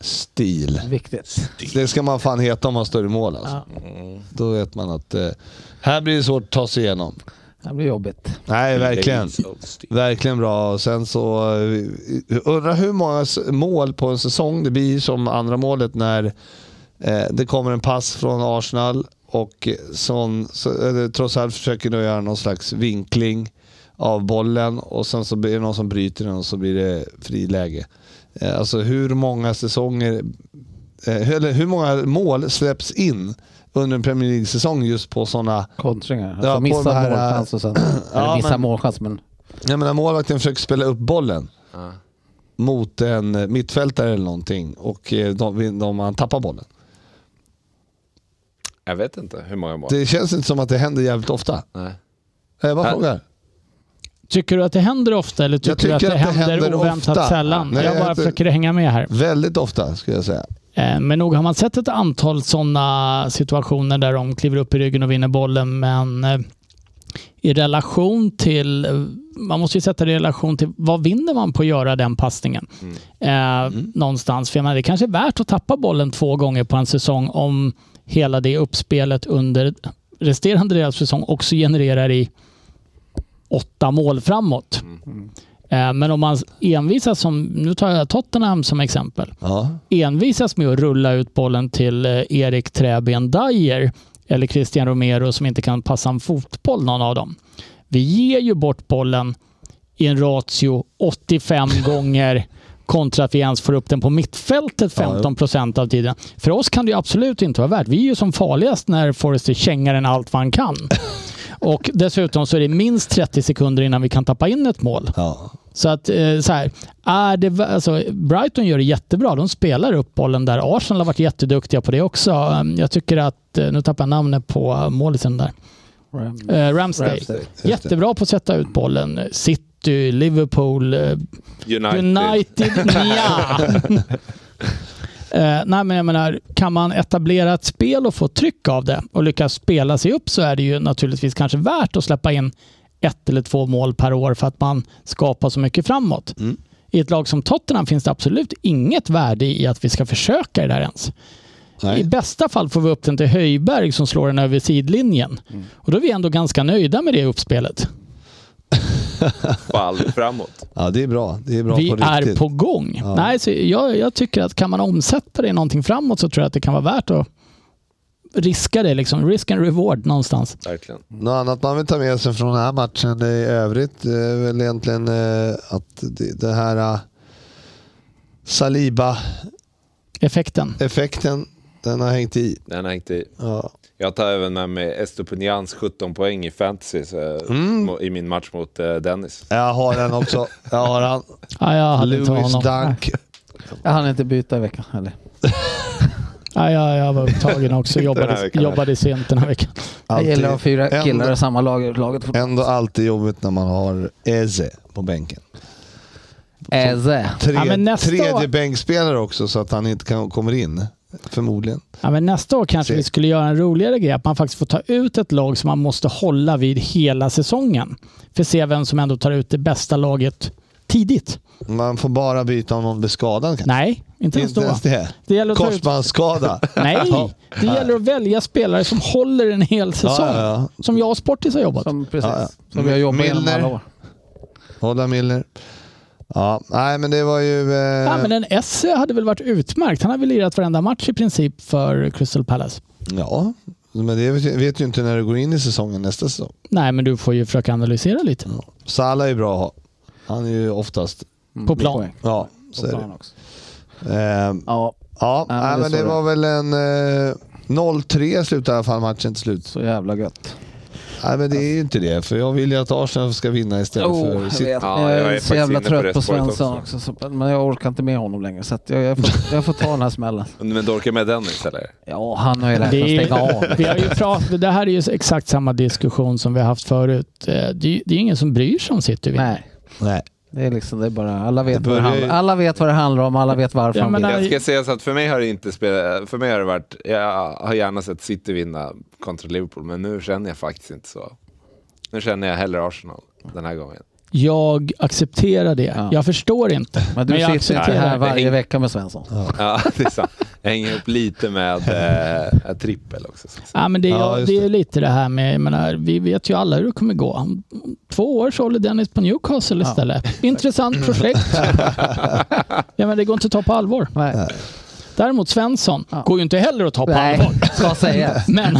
Speaker 3: Stil.
Speaker 5: Viktigt.
Speaker 3: Det ska man fan heta om man står i mål alltså. Då vet man att eh, här blir det svårt att ta sig igenom.
Speaker 5: Det här blir jobbigt.
Speaker 3: Nej, verkligen.
Speaker 6: Days of Steel.
Speaker 3: Verkligen bra. Och sen så eh, undrar hur många s- mål på en säsong det blir som andra målet när eh, det kommer en pass från Arsenal och sån, så, eller, trots allt försöker då göra någon slags vinkling av bollen och sen så blir det någon som bryter den och så blir det friläge. Eh, alltså hur många säsonger, eh, eller hur många mål släpps in under en Premier League-säsong just på sådana
Speaker 5: Kontringar. Alltså
Speaker 3: Ja, på
Speaker 5: missa
Speaker 3: de här, äh,
Speaker 5: målchans och sen... eller missa
Speaker 3: men-
Speaker 5: målchans men...
Speaker 3: Jag menar målvakten försöker spela upp bollen
Speaker 6: Ja.
Speaker 3: mot en eh, mittfältare eller någonting och eh, de, vin- de, han tappar bollen.
Speaker 6: Jag vet inte hur många mål.
Speaker 3: Det känns inte som att det händer jävligt ofta.
Speaker 6: Nej.
Speaker 3: Jag bara
Speaker 6: Nej.
Speaker 3: frågar.
Speaker 4: Tycker du att det händer ofta eller tycker,
Speaker 3: Jag tycker
Speaker 4: du att det, händer, oväntat
Speaker 3: ofta.
Speaker 4: sällan?
Speaker 3: Nej,
Speaker 4: jag bara
Speaker 3: jag-
Speaker 4: försöker hänga med här.
Speaker 3: Väldigt ofta skulle jag säga.
Speaker 4: Eh, Men nog har man sett ett antal sådana situationer där de kliver upp i ryggen och vinner bollen, men eh, i relation till, eh, man måste ju sätta det i relation till, vad vinner man på att göra den passningen? Eh, Någonstans, för jag menar, det kanske är värt att tappa bollen två gånger på en säsong om hela det uppspelet under resterande del av säsong också genererar i åtta mål framåt. Eh, Men om man envisas, som, nu tar jag Tottenham som exempel,
Speaker 3: Ja.
Speaker 4: envisas med att rulla ut bollen till eh, Erik Träben Dyer eller Christian Romero som inte kan passa en fotboll någon av dem. Vi ger ju bort bollen i en ratio 85 gånger kontra att vi ens får upp den på mittfältet
Speaker 3: Ja, jo.
Speaker 4: 15 procent av tiden. För oss kan det ju absolut inte vara värt. Vi är ju som farligast när Forrester kängar den allt vad han kan. Och dessutom så är det minst 30 sekunder innan vi kan tappa in ett mål.
Speaker 3: ja.
Speaker 4: Så att eh, så här, är det, vä- alltså, Brighton gör det jättebra. De spelar upp bollen där. Arsenal har varit jätteduktiga på det också. Um, Jag tycker att, eh, nu tappar jag namnet på eh, målisen där, eh, Ramsdale.
Speaker 5: Ramsdale.
Speaker 3: det.
Speaker 4: Jättebra på att sätta ut bollen. City, Liverpool, eh,
Speaker 6: United.
Speaker 4: United, ja. Eh, nej men jag menar, kan man etablera ett spel och få tryck av det och lyckas spela sig upp så är det ju naturligtvis kanske värt att släppa in ett eller två mål per år för att man skapar så mycket framåt.
Speaker 3: Mm.
Speaker 4: I ett lag som Tottenham finns det absolut inget värde i att vi ska försöka det där ens. I
Speaker 3: Nej.
Speaker 4: bästa fall får vi upp den till Höjberg som slår den över sidlinjen.
Speaker 3: Mm.
Speaker 4: Och då är vi ändå ganska nöjda med det uppspelet.
Speaker 6: Fall framåt.
Speaker 3: ja, det är bra. Det är bra
Speaker 4: vi
Speaker 3: på riktigt.
Speaker 4: är på gång.
Speaker 3: Ja.
Speaker 4: Nej, så jag, jag tycker att kan man omsätta det i någonting framåt så tror jag att det kan vara värt att riska det. Liksom. Risk and reward någonstans.
Speaker 6: Verkligen.
Speaker 3: Något annat man vill ta med sig från den här matchen i övrigt eh, är väl egentligen eh, att det, det här eh, Saliba-effekten, Eh,
Speaker 4: Effekten.
Speaker 3: den har hängt i.
Speaker 6: Den har inte i.
Speaker 3: Ja.
Speaker 6: Jag tar även med mig Estopinians 17 poäng i fantasy så,
Speaker 3: Mm.
Speaker 6: mo- i min match mot eh, Dennis.
Speaker 3: Jag har den också. Jag har han.
Speaker 4: Ja, jag hade inte
Speaker 3: Lewis
Speaker 4: honom.
Speaker 3: Dunk.
Speaker 5: Jag hann inte byta i veckan heller.
Speaker 4: Nej, jag, jag var upptagen också.
Speaker 6: Den här
Speaker 4: jobbade,
Speaker 6: veckan.
Speaker 4: jobbade sent den här veckan.
Speaker 5: Det gäller att ha
Speaker 3: Alltid,
Speaker 5: fyra
Speaker 3: Ändå-
Speaker 5: killar i samma lag. Laget
Speaker 3: ändå alltid jobbigt när man har Eze på bänken.
Speaker 5: Äze.
Speaker 3: Tre,
Speaker 4: Ja, men nästa
Speaker 3: tredje
Speaker 4: år-
Speaker 3: bänkspelare också så att han inte kan, kommer in. Förmodligen.
Speaker 4: Ja, men nästa år kanske
Speaker 3: Se.
Speaker 4: vi skulle göra en roligare grej. Att man faktiskt får ta ut ett lag som man måste hålla vid hela säsongen. För att se vem som ändå tar ut det bästa laget tidigt.
Speaker 3: Man får bara byta om någon blir skadad kanske.
Speaker 4: Nej, inte ens
Speaker 3: inte
Speaker 4: då.
Speaker 3: ens det.
Speaker 4: Det gäller att ta ut
Speaker 3: Korsbandsskada. Ja.
Speaker 4: Nej, det gäller att välja spelare som håller en hel säsong.
Speaker 3: Ja, ja,
Speaker 4: Som jag och Sportis har jobbat.
Speaker 5: Som, precis,
Speaker 3: Ja, ja.
Speaker 5: som vi har jobbat
Speaker 3: Milner.
Speaker 5: igenom
Speaker 3: ja.
Speaker 5: alla år.
Speaker 3: Ola Milner. Ja, nej men det var ju... Eh,
Speaker 4: Ja, men en S hade väl varit utmärkt. Han har väl lirat varenda match i princip för Crystal Palace.
Speaker 3: ja, men det vet- vet ju inte när du går in i säsongen nästa säsong.
Speaker 4: Nej, men du får ju försöka analysera lite.
Speaker 3: Salah är bra att ha. Han är ju oftast...
Speaker 5: Mm,
Speaker 4: På plan.
Speaker 5: med poäng.
Speaker 3: Ja, så
Speaker 5: På
Speaker 3: är det.
Speaker 5: plan också.
Speaker 3: Eh, ja,
Speaker 5: Ja, men
Speaker 3: nej,
Speaker 5: det
Speaker 3: men det
Speaker 5: står det.
Speaker 3: var väl en... Eh, 0-3 slutade i alla fall matchen till slut.
Speaker 5: så jävla gött.
Speaker 3: Nej, men det är ju inte det. För jag vill ju att Arsenal ska vinna istället för...
Speaker 5: Oh, jag,
Speaker 3: City.
Speaker 5: vet.
Speaker 6: Ja,
Speaker 5: jag
Speaker 6: jag är
Speaker 5: är så
Speaker 6: faktiskt
Speaker 5: jävla
Speaker 6: inne på det
Speaker 5: trött på
Speaker 6: spåret
Speaker 5: Svensson
Speaker 6: också.
Speaker 5: också. så, men jag orkar inte med honom längre så att jag, jag, får, jag får ta den här smällen.
Speaker 6: Men du orkar med Dennis eller?
Speaker 5: Ja, han har ju lärt
Speaker 4: Det,
Speaker 5: sig att stänga av.
Speaker 4: är, vi har ju prat, det här är ju exakt samma diskussion som vi har haft förut. Eh, Det är, ju- det är ingen som bryr sig om City vinner.
Speaker 5: Nej,
Speaker 3: Nej.
Speaker 5: det är liksom det är bara alla vet,
Speaker 3: Det
Speaker 5: vad, det
Speaker 3: börjar ju-
Speaker 5: handlar, alla vet vad det handlar om, alla vet varför
Speaker 4: Ja,
Speaker 5: han
Speaker 4: men
Speaker 5: vill.
Speaker 4: Nej.
Speaker 6: Jag ska säga så att för mig har det inte spelat, för mig har det varit, jag har gärna sett City vinna kontra Liverpool, men nu känner jag faktiskt inte så. Nu känner jag hellre Arsenal den här gången.
Speaker 4: Jag accepterar det.
Speaker 5: Ja.
Speaker 4: Jag förstår inte.
Speaker 5: Men du
Speaker 4: Men jag
Speaker 5: sitter inte
Speaker 4: accepterar
Speaker 5: här
Speaker 4: det.
Speaker 5: varje vecka med Svensson.
Speaker 6: Ja, det är sant. Jag hänger upp lite med eh, en trippel också. Så att säga.
Speaker 4: Ja, men det, är,
Speaker 3: Ja, just
Speaker 4: det
Speaker 3: det.
Speaker 4: är lite det här med, jag menar, vi vet ju alla hur det kommer gå. Om om två år så håller Dennis på Newcastle istället. Intressant projekt. ja, men det går inte att ta på allvar.
Speaker 5: Nej,
Speaker 4: Däremot Svensson
Speaker 5: Ja.
Speaker 4: går ju inte heller att ta på
Speaker 5: Nej.
Speaker 4: allvar.
Speaker 5: ska sägas.
Speaker 4: Men,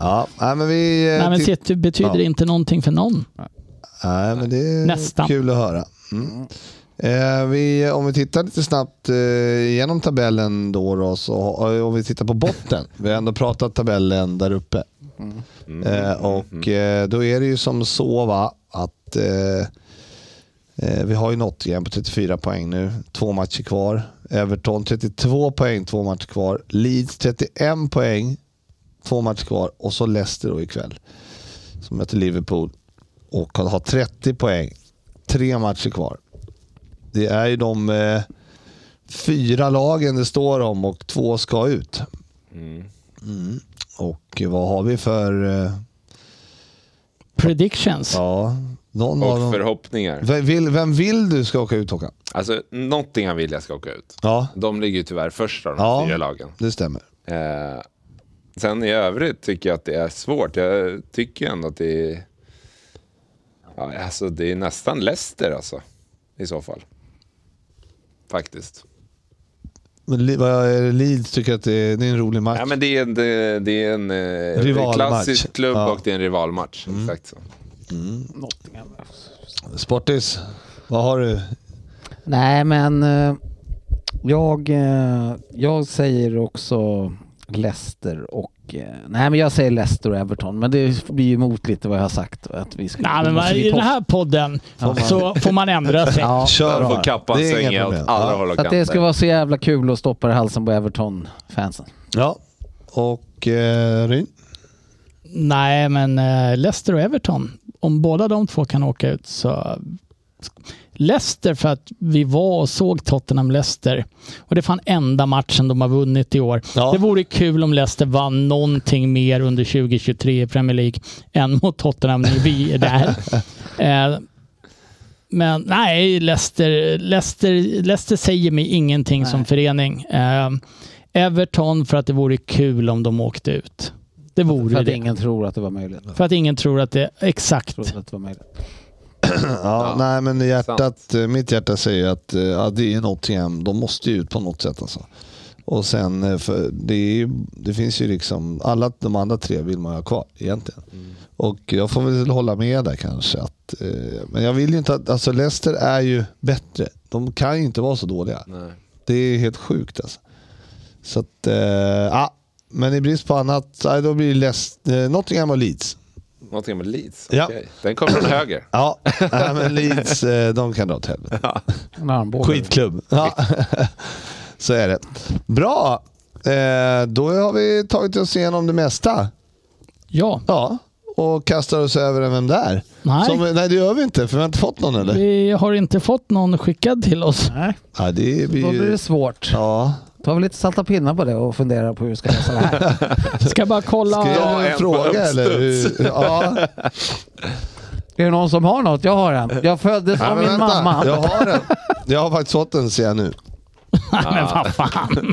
Speaker 3: Ja, nej, men vi... eh,
Speaker 4: nej, men
Speaker 3: till-
Speaker 4: City betyder
Speaker 3: Ja.
Speaker 4: inte någonting för någon.
Speaker 3: Nej, men det är
Speaker 4: Nästan.
Speaker 3: kul att höra. Mm. Eh, vi, om vi tittar lite snabbt eh, igenom tabellen då, då så, och om vi tittar på botten. vi har ändå pratat tabellen där uppe. Eh, och eh, då är det ju som så va, att eh, eh, vi har ju nått igen på 34 poäng nu. Två matcher kvar. Everton 32 poäng, två matcher kvar. Leeds 31 poäng, två matcher kvar. Och så Leicester då ikväll som möter Liverpool och har 30 poäng. Tre matcher kvar. Det är ju de eh, fyra lagen det står om och två ska ut. Mm. Och vad har vi för... Eh,
Speaker 4: Predictions.
Speaker 3: ja, någon av
Speaker 6: Och
Speaker 3: dem.
Speaker 6: förhoppningar.
Speaker 3: Vem vill, vem vill du ska åka ut Håkan?
Speaker 6: Alltså, Nottingham vill jag ska åka ut.
Speaker 3: Ja,
Speaker 6: De ligger ju tyvärr först av de
Speaker 3: Ja.
Speaker 6: fyra lagen.
Speaker 3: det stämmer.
Speaker 6: Eh, sen i övrigt tycker jag att det är svårt. Jag tycker ändå att det är... Ja, alltså, det är nästan Leicester alltså, i så fall. Faktiskt.
Speaker 3: Men Li- vad är det, Leeds tycker att det är, det är en rolig match.
Speaker 6: Ja, men det är en, det, det är en eh,
Speaker 3: Rivalmatch.
Speaker 6: klassisk klubb
Speaker 3: Ja. Mm.
Speaker 6: och det är en rivalmatch. Exakt så.
Speaker 3: Sportis, vad har du?
Speaker 5: Nej, men eh, jag, eh, jag säger också Leicester och... eh, Nej, men jag säger Leicester och Everton, men det blir ju emot lite vad jag har sagt. Att vi skulle,
Speaker 4: Nej, men vad-
Speaker 5: måste vi
Speaker 4: i den
Speaker 5: posta.
Speaker 4: här podden så får man ändra sig.
Speaker 5: Ja,
Speaker 3: Kör
Speaker 6: Där
Speaker 3: bara.
Speaker 6: får kappan
Speaker 3: Det är inga
Speaker 6: svänga åt
Speaker 3: problem.
Speaker 6: alla
Speaker 3: Ja.
Speaker 6: håll och
Speaker 5: så att det
Speaker 6: kanter.
Speaker 5: ska vara så jävla kul att stoppa i halsen på Everton-fansen.
Speaker 3: Ja. Och eh, Ryn?
Speaker 4: Nej, men eh, Leicester och Everton. Om båda de två kan åka ut så... Leicester för att vi var och såg Tottenham-Leicester. Och det är fan enda matchen de har vunnit i år.
Speaker 3: Ja.
Speaker 4: Det vore kul om Leicester vann någonting mer under 2023 i Premier League än mot Tottenham när vi är där. eh, men nej, Leicester, Leicester, Leicester säger mig ingenting som förening. Eh, Everton för att det vore kul om de åkte ut. Det vore
Speaker 5: För att
Speaker 4: det.
Speaker 5: ingen tror att det var möjligt.
Speaker 4: För att ingen tror att det är exakt.
Speaker 5: Trodde att det var möjligt.
Speaker 3: Ja,
Speaker 6: Ja,
Speaker 3: nej, men hjärtat, eh, mitt hjärta säger att eh, ja, det är Nottingham. De måste ju ut på något sätt alltså. Och sen, eh, för det, är, ju- det finns ju liksom, alla de andra tre vill man ha kvar egentligen. Och jag får väl hålla med där kanske. Att, eh, men jag vill ju inte att, alltså Leicester är ju bättre. De kan ju inte vara så dåliga.
Speaker 6: Nej.
Speaker 3: Det är helt sjukt alltså. Så att, eh, ja. Men i brist på annat, nej, då blir det Leicester, eh, Nottingham och Leeds.
Speaker 6: Någonting med Leeds?
Speaker 3: Ja.
Speaker 6: Okej. Den kommer från höger.
Speaker 3: Ja, nej, men Leeds, eh, de kan dra åt helvete.
Speaker 5: En armbåge.
Speaker 3: Skitklubb. Ja. Så är det. Bra! Eh, då har vi tagit oss igenom det mesta.
Speaker 4: Ja,
Speaker 3: Ja. Och kastar oss över en Vem där?
Speaker 4: Nej.
Speaker 3: Som, nej, det gör vi inte, för vi har inte fått någon eller?
Speaker 4: vi har inte fått någon skickad till oss.
Speaker 5: Nej,
Speaker 3: Ja, det blir
Speaker 5: då blir
Speaker 3: ju...
Speaker 5: det svårt.
Speaker 3: Ja.
Speaker 5: Ta väl lite salta pinnar på det och fundera på hur vi ska lösa det här.
Speaker 4: Ska bara kolla.
Speaker 3: Ska
Speaker 6: Ja,
Speaker 3: jag
Speaker 6: en på
Speaker 3: fråga eller?
Speaker 6: uppstuds.
Speaker 3: Hur? Ja.
Speaker 5: Är det någon som har något? Jag har en. Jag föddes
Speaker 3: Nej,
Speaker 5: av
Speaker 3: men
Speaker 5: min
Speaker 3: vänta.
Speaker 5: mamma.
Speaker 3: Jag har den. Jag har faktiskt fått den ser jag nu.
Speaker 4: Men vad fan.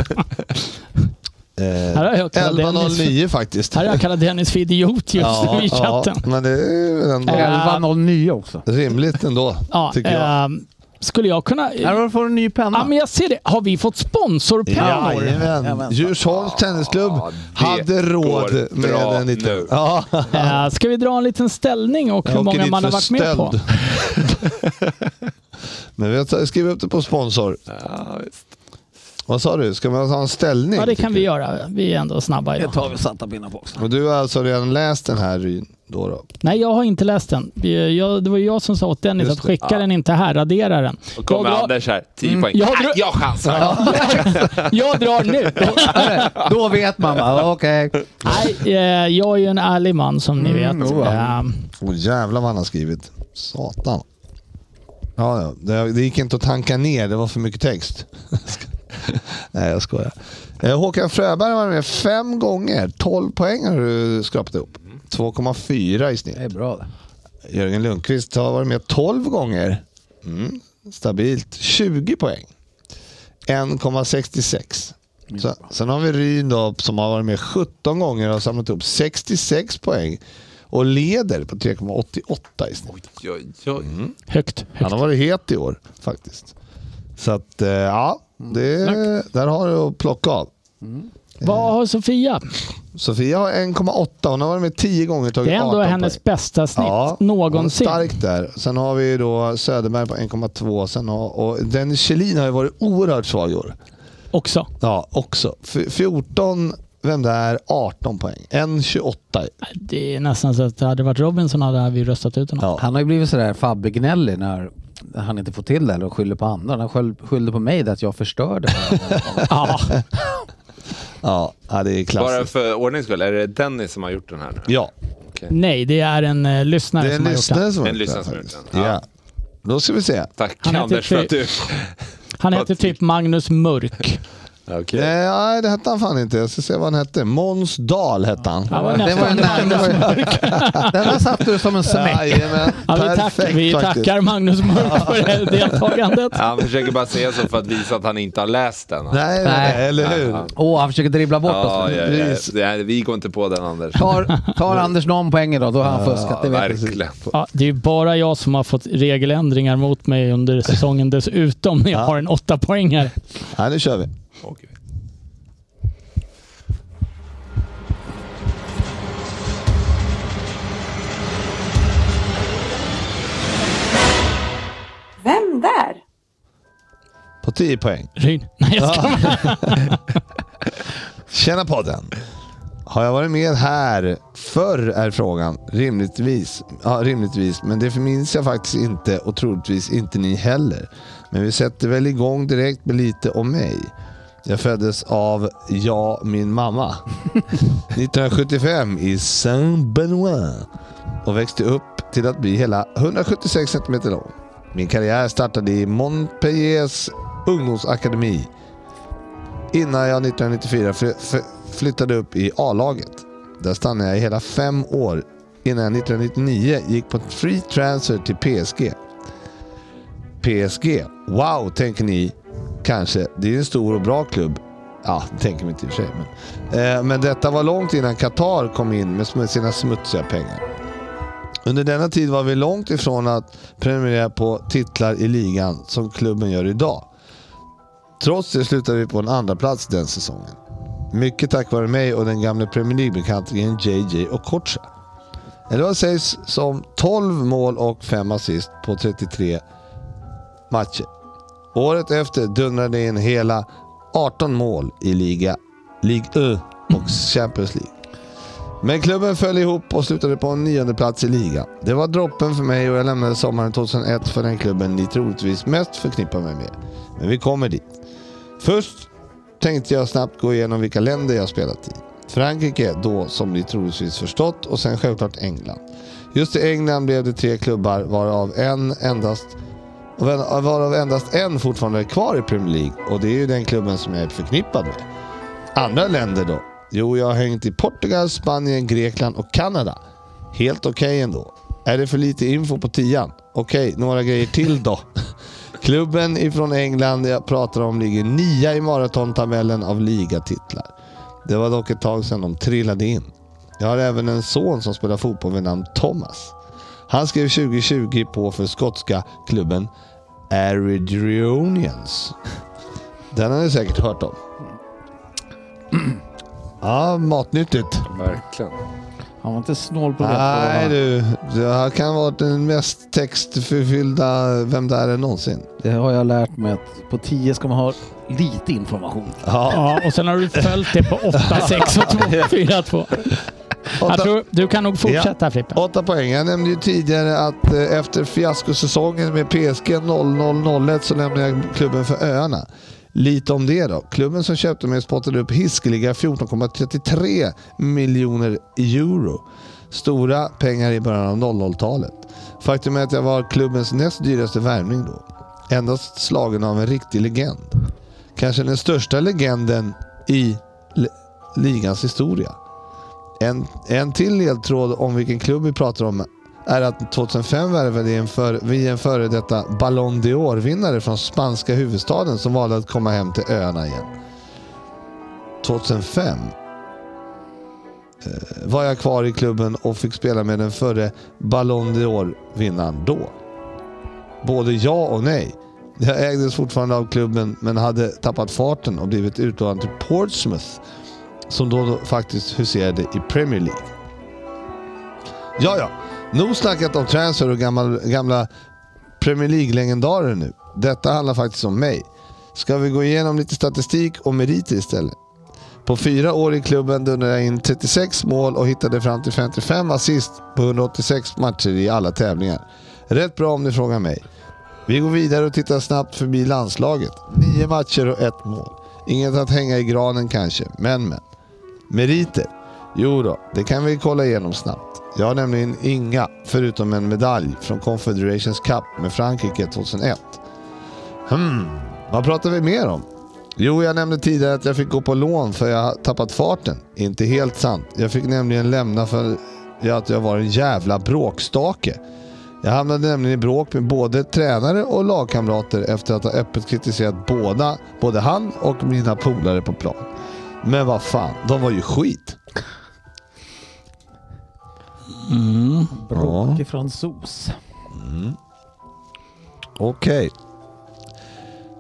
Speaker 4: Här har
Speaker 3: Eh,
Speaker 4: jag kallat Dennis,
Speaker 3: 11.09 faktiskt.
Speaker 4: här har jag kallat Dennis för idiot just nu i chatten.
Speaker 3: ja, men det är ju ändå
Speaker 4: Äh.
Speaker 5: 11.09 också.
Speaker 3: rimligt ändå,
Speaker 4: Ja,
Speaker 3: tycker jag.
Speaker 4: ehm, skulle jag kunna...
Speaker 5: Här
Speaker 4: Ja,
Speaker 5: har du fått en ny penna.
Speaker 4: men jag ser det. Har vi fått sponsorpennor?
Speaker 3: Jajamän. Djursholms tennisklubb
Speaker 6: Ja, det
Speaker 3: hade råd
Speaker 6: går
Speaker 3: med
Speaker 6: bra
Speaker 3: en liten...
Speaker 6: nu.
Speaker 3: Ja,
Speaker 4: Eh, ska vi dra en liten ställning och hur
Speaker 3: jag åker
Speaker 4: många
Speaker 3: dit
Speaker 4: man har
Speaker 3: för
Speaker 4: varit med på?
Speaker 3: stöld. Men vi har skrivit upp det på sponsor.
Speaker 6: Ja, visst.
Speaker 3: Vad sa du? Ska man ha en ställning?
Speaker 4: Ja, det
Speaker 3: tycker
Speaker 4: kan vi
Speaker 3: du?
Speaker 4: göra. Vi är ändå snabba
Speaker 5: Det
Speaker 4: idag.
Speaker 5: tar vi salta pinnar på också.
Speaker 3: Och du har alltså redan läst den här Ryn? Då då?
Speaker 4: Nej, jag har inte läst den. Vi- Jag, det var ju jag som sa åt Dennis
Speaker 3: Just
Speaker 4: att skicka den inte här, radera den.
Speaker 6: Och kommer
Speaker 4: Jag drar-
Speaker 6: Anders här. 10
Speaker 5: Mm.
Speaker 6: poäng.
Speaker 4: jag
Speaker 6: Jag,
Speaker 4: drar-
Speaker 6: jag chansar.
Speaker 4: Jag drar nu.
Speaker 5: Då vet mamma. Okej.
Speaker 4: Nej, eh, jag är ju en ärlig man som ni
Speaker 3: Mm,
Speaker 4: vet.
Speaker 5: jo, ja.
Speaker 4: Eh,
Speaker 3: Åh jävlar vad han har skrivit. Satan. Ja, ja. Det, det gick inte att tanka ner. Det var för mycket text. Nej, jag skojar. Eh, Håkan Fröberg var med fem gånger. 12 poäng har du skrapat ihop. 2,4 i snitt.
Speaker 5: Det är bra det.
Speaker 3: Jörgen Lundqvist har varit med 12 gånger. Mm. Stabilt. 20 poäng. 1,66. Så, sen har vi Ryn då, som har varit med 17 gånger och har samlat upp 66 poäng. Och leder på 3,88 i snitt.
Speaker 6: Oj, oj, oj.
Speaker 4: högt.
Speaker 3: Han har varit het i år faktiskt. Så att eh, ja, det, där har du att plocka av.
Speaker 4: Vad har Sofia?
Speaker 3: Sofia har 1,8. Hon har varit med 10 gånger och tagit
Speaker 4: Det är
Speaker 3: 18
Speaker 4: ändå
Speaker 3: poäng.
Speaker 4: hennes bästa snitt någonsin.
Speaker 3: hon är Stark där. Sen har vi då Söderberg på 1,2. Sen har, och Dennis Kjellin har ju varit oerhört svag i år.
Speaker 4: Också.
Speaker 3: Ja, också. F- 14, vem där, 18 poäng. 1,28.
Speaker 4: Det är nästan så att det hade varit Robinson hade vi röstat ut honom.
Speaker 3: Ja.
Speaker 5: Han har ju blivit sådär fabbegnällig när han inte får till det eller skyller på andra. Han skyll- skyllde på mig där att jag förstörde.
Speaker 4: Ja.
Speaker 3: Ja, ja, det är
Speaker 6: Bara
Speaker 3: klassiskt.
Speaker 6: för ordnings skull, är det Dennis som har gjort den här nu?
Speaker 3: Ja,
Speaker 4: Nej, det är en eh, lyssnare
Speaker 3: det är en
Speaker 4: som
Speaker 3: lyssnare
Speaker 4: har gjort den.
Speaker 3: som
Speaker 6: En lyssnare som har
Speaker 3: faktiskt.
Speaker 6: gjort den.
Speaker 3: Ja.
Speaker 6: Ja.
Speaker 3: Då ska vi se.
Speaker 6: Tack
Speaker 4: Han heter
Speaker 6: Anders för att du...
Speaker 4: Han heter typ Magnus Mörk.
Speaker 6: Okej.
Speaker 3: Nej, Eh, nej, det hette han fan inte. Jag ska se vad han hette. Måns Dahl hette han.
Speaker 4: Han var
Speaker 5: Det var ju
Speaker 4: nästan
Speaker 5: nära. Det
Speaker 4: Magnus
Speaker 5: var ju... Den där satt du som en smäck.
Speaker 3: Jajamän,
Speaker 4: Ja, vi, tack,
Speaker 3: perfekt
Speaker 4: vi
Speaker 3: faktiskt.
Speaker 4: tackar Magnus Mörk för det här deltagandet.
Speaker 6: Han försöker bara säga så för att visa att han inte har läst den.
Speaker 3: Nej, nej,
Speaker 5: Nej.
Speaker 3: eller hur?
Speaker 5: Åh, han försöker dribbla bort oss.
Speaker 6: Ja, ja, ja,
Speaker 3: Precis.
Speaker 6: ja. Vi går inte på den Anders.
Speaker 5: Tar, tar Anders någon poäng idag, då har han fuskat.
Speaker 6: Ja,
Speaker 5: Det vet jag.
Speaker 6: verkligen.
Speaker 4: Ja, det är ju bara jag som har fått regeländringar mot mig under säsongen dessutom när jag har en åtta poängare.
Speaker 3: Nej, nu kör vi.
Speaker 6: Okej.
Speaker 1: Vem där?
Speaker 3: På 10 poäng.
Speaker 4: Ryn. Nej, jag ska...
Speaker 3: Tjena podden! Har jag varit med här förr är frågan. Rimligtvis. Ja, rimligtvis. Men det förminns jag faktiskt inte och troligtvis inte ni heller. Men vi sätter väl igång direkt med lite om mig. Jag föddes av, ja, min mamma. 1975 i Saint-Benoît. Och växte upp till att bli hela 176 cm lång. Min karriär startade i Montpelliers ungdomsakademi innan jag 1994 fly- fly- flyttade upp i A-laget. Där stannade jag i hela fem år innan jag 1999 gick på free transfer till PSG. PSG, wow tänker ni kanske. Det är ju en stor och bra klubb. Ja, det tänker man inte i och för sig. Men, eh, men detta var långt innan Qatar kom in med sm- sina smutsiga pengar. Under denna tid var vi långt ifrån att prenumerera på titlar i ligan som klubben gör idag. Trots det slutade vi på en andra plats den säsongen. Mycket tack vare mig och den gamle Premier League-bekantingen JJ och Kocha. Eller vad sägs som 12 mål och 5 assist på 33 matcher. Året efter dundrade jag in hela 18 mål i liga, Ligue 1 och Champions League. Men klubben föll ihop och slutade på en nionde plats i ligan. Det var droppen för mig och jag lämnade sommaren 2001 för den klubben ni troligtvis mest förknippar mig med. Men vi kommer dit. Först tänkte jag snabbt gå igenom vilka länder jag spelat i. Frankrike då, som ni troligtvis förstått, och sen självklart England. Just i England blev det tre klubbar varav en endast och vän- varav endast en fortfarande är kvar i Premier League och det är ju den klubben som jag är förknippad med. Andra länder då? Jo, jag har hängt i Portugal, Spanien, Grekland och Kanada. Helt okej ändå. Är det för lite info på tian? Okej, några grejer till då. Klubben ifrån England jag pratar om ligger nia i maratontabellen av ligatitlar. Det var dock ett tag sedan de trillade in. Jag har även en son som spelar fotboll vid namn Thomas. Han skrev 2020 på för skotska klubben Aridionians. Den har ni säkert hört om. Ja, matnyttigt.
Speaker 6: Verkligen.
Speaker 5: Han var inte snål på det.
Speaker 3: Nej du, det här kan vara den mest textfyllda Vem där är någonsin.
Speaker 5: Det har jag lärt mig att på 10 ska man ha lite information.
Speaker 3: Ja.
Speaker 4: Ja, och sen har du följt det på 8, 6 och 2, 4, 2. Jag
Speaker 3: Åtta-
Speaker 4: tror, du kan nog fortsätta Frippe.
Speaker 3: Åtta poäng. Jag nämnde ju tidigare att eh, efter fiaskosäsongen med PSG 0001 så lämnade jag klubben för öarna. Lite om det då. Klubben som köpte mig spottade upp hiskeliga 14,33 miljoner euro. Stora pengar i början av 00-talet. Faktum är att jag var klubbens näst dyraste värvning då. Endast slagen av en riktig legend. Kanske den största legenden i li- ligans historia. En, en till ledtråd om vilken klubb vi pratar om är att 2005 värvade vi en för- vi en före detta Ballon d'Or-vinnare från spanska huvudstaden som valde att komma hem till öarna igen. 2005 eh, var jag kvar i klubben och fick spela med den förre Ballon d'Or-vinnaren då. Både ja och nej. Jag ägdes fortfarande av klubben men hade tappat farten och blivit utlånad till Portsmouth som då, då faktiskt huserade i Premier League. Ja, ja. Nog snackat om transfer och gamla, gamla Premier League-legendarer nu. Detta handlar faktiskt om mig. Ska vi gå igenom lite statistik och meriter istället? På fyra år i klubben dundrade jag in 36 mål och hittade fram till 55 assist på 186 matcher i alla tävlingar. Rätt bra om ni frågar mig. Vi går vidare och tittar snabbt förbi landslaget. Nio matcher och ett mål. Inget att hänga i granen kanske, men men. Meriter? Jo då, det kan vi kolla igenom snabbt. Jag har nämligen inga, förutom en medalj från Confederations Cup med Frankrike 2001. Hmm, vad pratar vi mer om? Jo, jag nämnde tidigare att jag fick gå på lån för jag har tappat farten. Inte helt sant. Jag fick nämligen lämna för att jag var en jävla bråkstake. Jag hamnade nämligen i bråk med både tränare och lagkamrater efter att ha öppet kritiserat båda, både han och mina polare på plan. Men vad fan, de var ju skit.
Speaker 5: Bråkig fransos.
Speaker 3: Okej.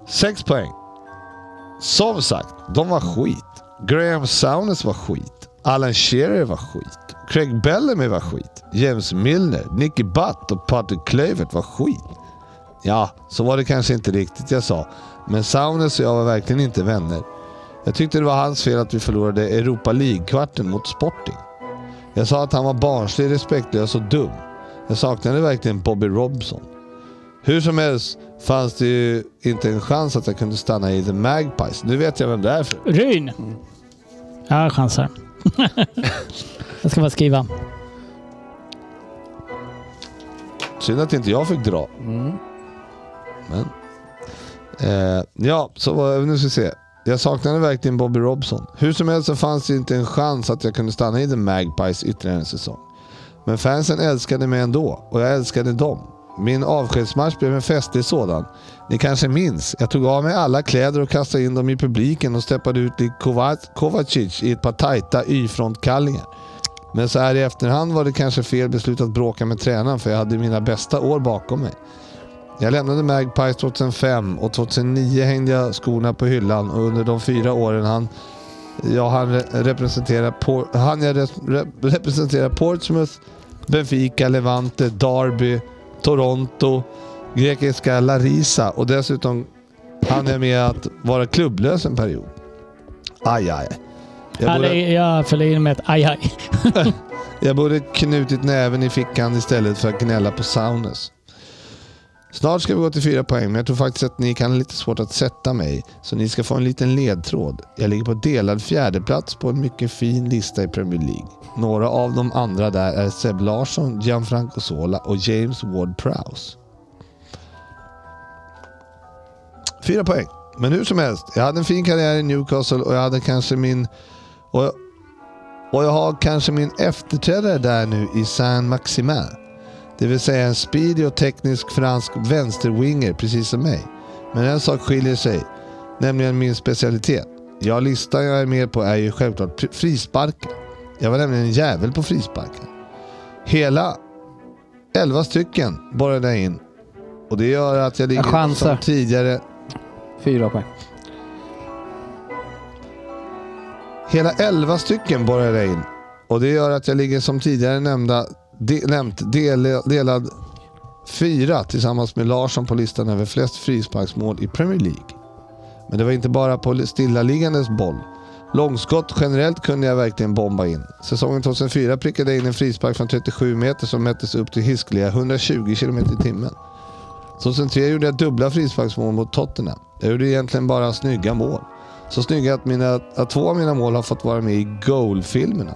Speaker 3: Sex poäng. Som sagt, de var skit. Graham Souness var skit. Alan Shearer var skit. Craig Bellamy var skit. James Milner, Nicky Butt och Patrick Kluivert var skit. Ja, så var det kanske inte riktigt jag sa. Men Souness och jag var verkligen inte vänner. Jag tyckte det var hans fel att vi förlorade Europa League-kvarten mot Sporting. Jag sa att han var barnslig, respektlös och dum. Jag saknade verkligen Bobby Robson. Hur som helst fanns det ju inte en chans att jag kunde stanna i The Magpies. Nu vet jag vem det är för.
Speaker 4: Ryn! Jag chansar. jag ska bara skriva.
Speaker 3: Synd att inte jag fick dra. Men. Eh, ja, så var, nu ska vi se. Jag saknade verkligen Bobby Robson. Hur som helst så fanns det inte en chans att jag kunde stanna i The Magpies ytterligare en säsong. Men fansen älskade mig ändå och jag älskade dem. Min avskedsmatch blev en festlig sådan. Ni kanske minns? Jag tog av mig alla kläder och kastade in dem i publiken och steppade ut lik Kovac- Kovacic i ett par tajta Y-frontkallingar. Men så här i efterhand var det kanske fel beslut att bråka med tränaren för jag hade mina bästa år bakom mig. Jag lämnade Magpies 2005 och 2009 hängde jag skorna på hyllan och under de fyra åren han jag han re- representerar Por- han jag res- re- representerar Portsmouth, Benfica, Levante, Derby, Toronto, grekiska Larisa och dessutom hann jag med att vara klubblös en period. Aj, aj. Jag
Speaker 4: Jag,
Speaker 3: borde-
Speaker 4: jag fäller in med ett aj, aj.
Speaker 3: jag borde knutit näven i fickan istället för att gnälla på Saunus. Snart ska vi gå till fyra poäng, men jag tror faktiskt att ni kan ha lite svårt att sätta mig. Så ni ska få en liten ledtråd. Jag ligger på delad fjärdeplats på en mycket fin lista i Premier League. Några av de andra där är Seb Larsson, Gianfranco Sola och James Ward-Prowse. Fyra poäng. Men hur som helst, jag hade en fin karriär i Newcastle och jag hade kanske min... Och jag, och jag har kanske min efterträdare där nu i Saint-Maximin. Det vill säga en speedig och teknisk fransk vänsterwinger precis som mig. Men en sak skiljer sig, nämligen min specialitet. Ja, listan jag är med på är ju självklart pri- frisparkar. Jag var nämligen en jävel på frisparkar. Hela 11 stycken borrade jag in. Och det gör att jag ligger
Speaker 5: chansar.
Speaker 3: som tidigare
Speaker 5: Fyra poäng.
Speaker 3: Hela 11 stycken borrar jag in och det gör att jag ligger som tidigare nämnda, de, nämnt del, delad fyra tillsammans med Larsson på listan över flest frisparksmål i Premier League. Men det var inte bara på stillaliggandes boll. Långskott generellt kunde jag verkligen bomba in. Säsongen 2004 prickade jag in en frispark från 37 meter som mättes upp till hiskliga 120 km i timmen. 2003 gjorde jag dubbla frisparksmål mot Tottenham. Jag gjorde egentligen bara snygga mål. Så snygga att, mina, att två av mina mål har fått vara med i Goal-filmerna.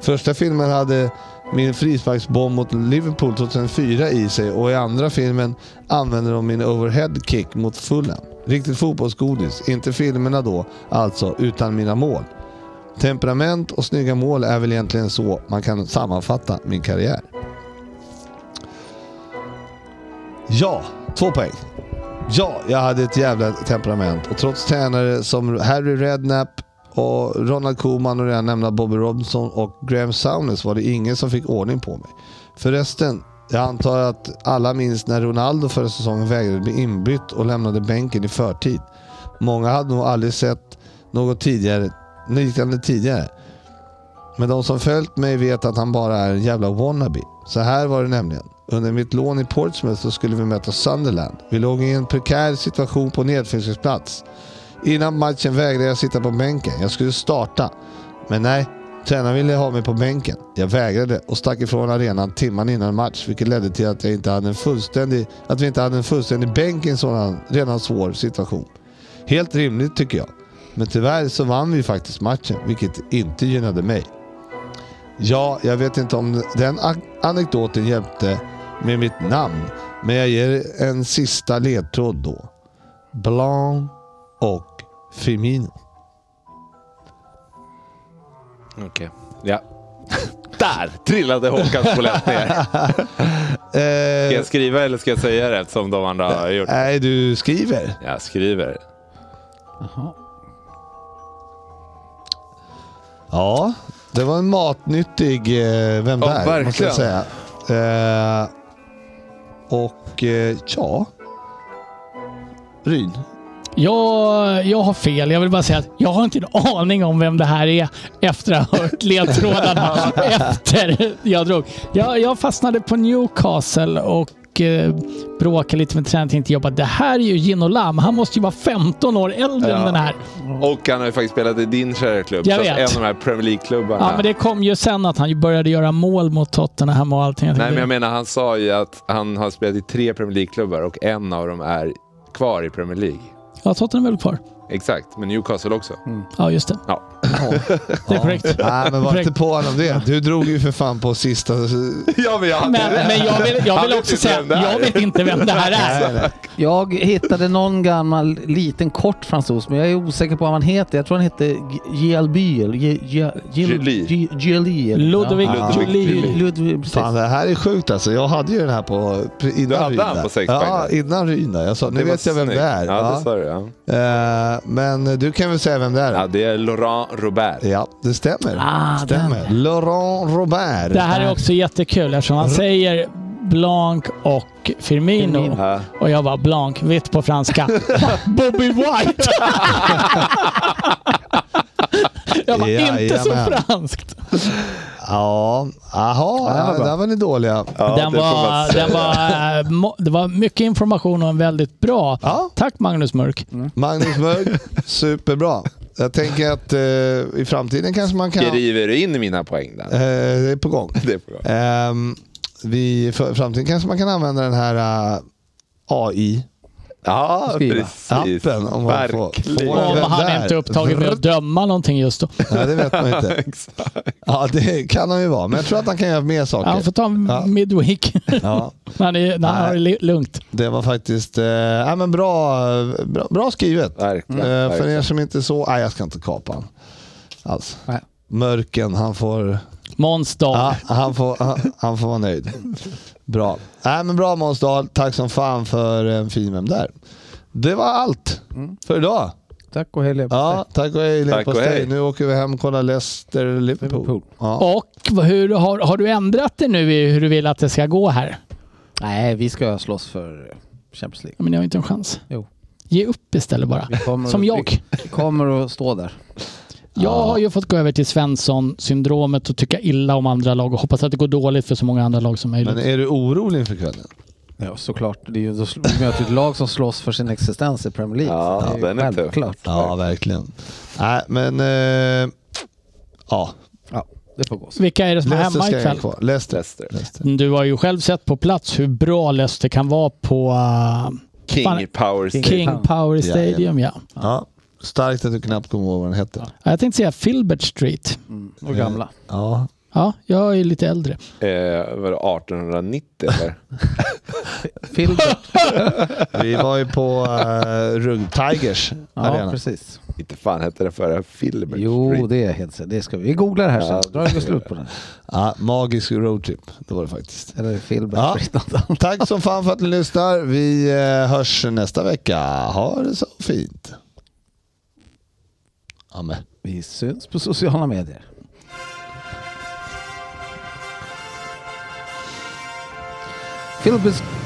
Speaker 3: Första filmen hade min frisparksbomb mot Liverpool 2004 i sig och i andra filmen använde de min overhead-kick mot Fulham. Riktigt fotbollsgodis, inte filmerna då alltså, utan mina mål. Temperament och snygga mål är väl egentligen så man kan sammanfatta min karriär. Ja, två poäng. Ja, jag hade ett jävla temperament och trots tränare som Harry Redknapp och Ronald Koeman och redan nämnda Bobby Robson och Graham Souness var det ingen som fick ordning på mig. Förresten, jag antar att alla minns när Ronaldo förra säsongen vägrade bli inbytt och lämnade bänken i förtid. Många hade nog aldrig sett något tidigare, liknande tidigare. Men de som följt mig vet att han bara är en jävla wannabe. Så här var det nämligen. Under mitt lån i Portsmouth så skulle vi möta Sunderland. Vi låg i en prekär situation på nedflyttningsplats. Innan matchen vägrade jag sitta på bänken. Jag skulle starta. Men nej, tränaren ville ha mig på bänken. Jag vägrade och stack ifrån arenan timman innan match, vilket ledde till att, jag inte hade en fullständig, att vi inte hade en fullständig bänk i en sådan redan svår situation. Helt rimligt tycker jag. Men tyvärr så vann vi faktiskt matchen, vilket inte gynnade mig. Ja, jag vet inte om den a- anekdoten hjälpte med mitt namn, men jag ger en sista ledtråd då. Blanc och Firmino.
Speaker 6: Okej. Ja. Där trillade Håkans polett ner. Ska
Speaker 3: Eh,
Speaker 6: jag skriva eller ska jag säga det som de andra har gjort?
Speaker 3: nej, du skriver.
Speaker 6: Jag skriver.
Speaker 5: Jaha.
Speaker 3: Ja, det var en matnyttig eh, Vem
Speaker 6: Ja,
Speaker 3: där? Måste
Speaker 6: verkligen.
Speaker 3: jag säga. Eh, och eh, ja... Ryn.
Speaker 4: Jag, jag har fel. Jag vill bara säga att jag har inte en aning om vem det här är efter att ha hört ledtrådarna efter jag drog. Jag, jag fastnade på Newcastle och eh, bråkade lite med tränaren. Tänkte jag bara, det här är ju Gino Lam. Han måste ju vara 15 år äldre än
Speaker 6: Ja.
Speaker 4: den här.
Speaker 6: Och han har ju faktiskt spelat i din kära klubb.
Speaker 4: Mm. Jag
Speaker 6: så att
Speaker 4: vet.
Speaker 6: En av de här Premier League-klubbarna.
Speaker 4: Ja, men det kom ju sen att han ju började göra mål mot Tottenham och allting. Jag
Speaker 6: Nej, men
Speaker 4: tänkte,
Speaker 6: jag menar han sa ju att han har spelat i tre Premier League-klubbar och en av dem är kvar i Premier League.
Speaker 4: Ja, Tottenham är väl kvar?
Speaker 6: Exakt, men Newcastle också.
Speaker 4: Ja, just det.
Speaker 6: Ja.
Speaker 4: Det är korrekt.
Speaker 3: Nej, men var inte på honom det. Du drog ju för fan på sista...
Speaker 6: ja, men jag hade
Speaker 4: Men,
Speaker 6: rätt.
Speaker 4: men jag vill, jag
Speaker 6: Han
Speaker 4: vill
Speaker 6: vet
Speaker 4: också
Speaker 6: inte
Speaker 4: säga,
Speaker 6: vem det är.
Speaker 4: jag vet inte vem det här är.
Speaker 5: Jag hittade någon gammal liten kort fransos, men jag är osäker på vad han heter. Jag tror han hette Gelby eller Ge- Ge-
Speaker 6: Gilly.
Speaker 5: Gil- Gi- Gilly. eller-
Speaker 4: Ludvig
Speaker 5: Ja.
Speaker 6: Ludvig
Speaker 4: Thulin.
Speaker 6: Thulin.
Speaker 5: Ludvig, precis.
Speaker 3: Fan, det här är sjukt alltså. Jag hade ju den här på... pre- Innan
Speaker 6: Du hade
Speaker 3: Ryn
Speaker 6: han
Speaker 3: där.
Speaker 6: på sex
Speaker 3: Ja,
Speaker 6: poäng där.
Speaker 3: innan Ryn där. Jag sa, nu
Speaker 6: Det var
Speaker 3: vet jag vem
Speaker 6: snyggt.
Speaker 3: det är.
Speaker 6: Ja,
Speaker 3: Ja.
Speaker 6: det sa du. Ja.
Speaker 3: Eh, men du kan väl säga vem det är?
Speaker 6: ja,
Speaker 3: Ja,
Speaker 6: det är Laurent Robert.
Speaker 3: det stämmer.
Speaker 5: Ah,
Speaker 3: stämmer. Laurent Robert.
Speaker 4: Det här är också jättekul eftersom
Speaker 6: Mm.
Speaker 4: han säger Blanc och Firmino.
Speaker 6: Ja.
Speaker 4: Och jag bara Blanc, vitt på franska. Bobby White! jag bara, inte så
Speaker 3: Jajamän.
Speaker 4: franskt.
Speaker 3: Ja, aha,
Speaker 5: den var
Speaker 3: ja,
Speaker 5: bra.
Speaker 3: där var ni dåliga.
Speaker 6: Ja,
Speaker 4: den
Speaker 6: det får man
Speaker 4: var,
Speaker 6: säga.
Speaker 4: den var, eh, mo- det var mycket information och en väldigt bra.
Speaker 3: Ja,
Speaker 4: Tack Magnus Mörk.
Speaker 3: Mm. Magnus Mörk, superbra. Jag tänker att eh, i framtiden kanske man kan... Eh,
Speaker 6: Skriver in mina poäng där.
Speaker 3: det är på gång.
Speaker 6: Det får jag.
Speaker 3: Ehm, vi, för, I framtiden kanske man kan använda den här eh, AI-appen.
Speaker 6: Ja,
Speaker 5: Skriva.
Speaker 6: precis.
Speaker 3: Om man får,
Speaker 6: Verkligen.
Speaker 3: får den
Speaker 4: Om
Speaker 3: vem
Speaker 4: han
Speaker 3: där.
Speaker 4: inte är upptagen med att döma någonting just då.
Speaker 3: Nej, det vet man ju inte.
Speaker 6: Exakt.
Speaker 3: Ja, det kan han ju vara. Men jag tror att han kan göra mer
Speaker 4: Han
Speaker 3: saker.
Speaker 4: får ta en
Speaker 3: Ja.
Speaker 4: midweek
Speaker 3: Ja,
Speaker 4: när han är- när han
Speaker 3: Nej.
Speaker 4: har det li- lugnt.
Speaker 3: det var faktiskt eh, ja, men bra, bra, bra skrivet.
Speaker 6: Verkligen.
Speaker 3: Eh, för
Speaker 6: verkligen.
Speaker 3: er som inte så, nej jag ska inte kapa han. Alls.
Speaker 5: Nej.
Speaker 3: Mörken, han får,
Speaker 4: Måns Dahl.
Speaker 3: ja, han, får, han, han får vara nöjd. Bra. Nej, men bra Måns Dahl. tack som fan för en fin vem där. Det var allt
Speaker 5: Mm.
Speaker 3: för idag.
Speaker 5: Tack och hej
Speaker 3: Ja, tack och hej
Speaker 6: Tack och
Speaker 3: leverpastej.
Speaker 6: hej.
Speaker 3: Nu åker vi hem och kollar Leicester Liverpool.
Speaker 5: Liverpool.
Speaker 3: Ja.
Speaker 4: Och vad- hur, har, har du ändrat dig nu i hur du vill att det ska gå här?
Speaker 5: Nej, vi ska slåss för eh, Champions League.
Speaker 4: Ja, Men jag har inte en chans.
Speaker 5: Jo.
Speaker 4: Ge upp istället bara.
Speaker 5: Vi kommer
Speaker 4: Som
Speaker 5: att-
Speaker 4: jag.
Speaker 5: Vi kommer att stå där.
Speaker 4: Jag har ju fått gå över till Svensson-syndromet och tycka illa om andra lag och hoppas att det går dåligt för så många andra lag som möjligt.
Speaker 3: Men är du orolig inför kvällen?
Speaker 5: Ja, såklart. Det är ju, då sl- vi möter ett lag som slåss för sin existens i Premier League.
Speaker 6: Ja,
Speaker 5: Så det ju
Speaker 6: den är tuff.
Speaker 5: självklart.
Speaker 3: Ja, verkligen. Nej, men... Eh, ja.
Speaker 5: Ja, det får gå så.
Speaker 4: Vilka är det som är
Speaker 3: Leicester
Speaker 4: hemma
Speaker 3: ska hänga
Speaker 4: ikväll?
Speaker 3: kvar. Leicester.
Speaker 6: Leicester.
Speaker 3: Leicester.
Speaker 4: Du har ju själv sett på plats hur bra Leicester kan vara på eh, Fan.
Speaker 6: King Power State.
Speaker 4: King Power Stadium. Ja.
Speaker 3: Ja. Starkt att du knappt kommer ihåg vad den hette.
Speaker 4: Ja, Jag tänkte säga Filbert Street.
Speaker 5: Mm. Och gamla.
Speaker 3: Ja.
Speaker 4: Ja, jag är lite äldre.
Speaker 6: Eh, var det 1890 eller?
Speaker 5: Filbert.
Speaker 3: Vi var ju på uh, Rugg Tigers
Speaker 5: Ja,
Speaker 3: arena.
Speaker 5: precis.
Speaker 6: Inte fan hette det förra Filbert
Speaker 5: Jo,
Speaker 6: Street.
Speaker 5: det är helt säkert. Det ska vi. Vi googlar det här
Speaker 6: Ja,
Speaker 5: sen. Drar vi slut på den.
Speaker 3: Ja, magisk roadtrip, det var det faktiskt.
Speaker 5: Eller Filbert.
Speaker 3: Ja.
Speaker 5: Street, något annat.
Speaker 3: Tack som fan för att ni lyssnar. Vi eh, hörs nästa vecka. Ha det så fint. Amen.
Speaker 5: Vi syns på sociala medier. Filbert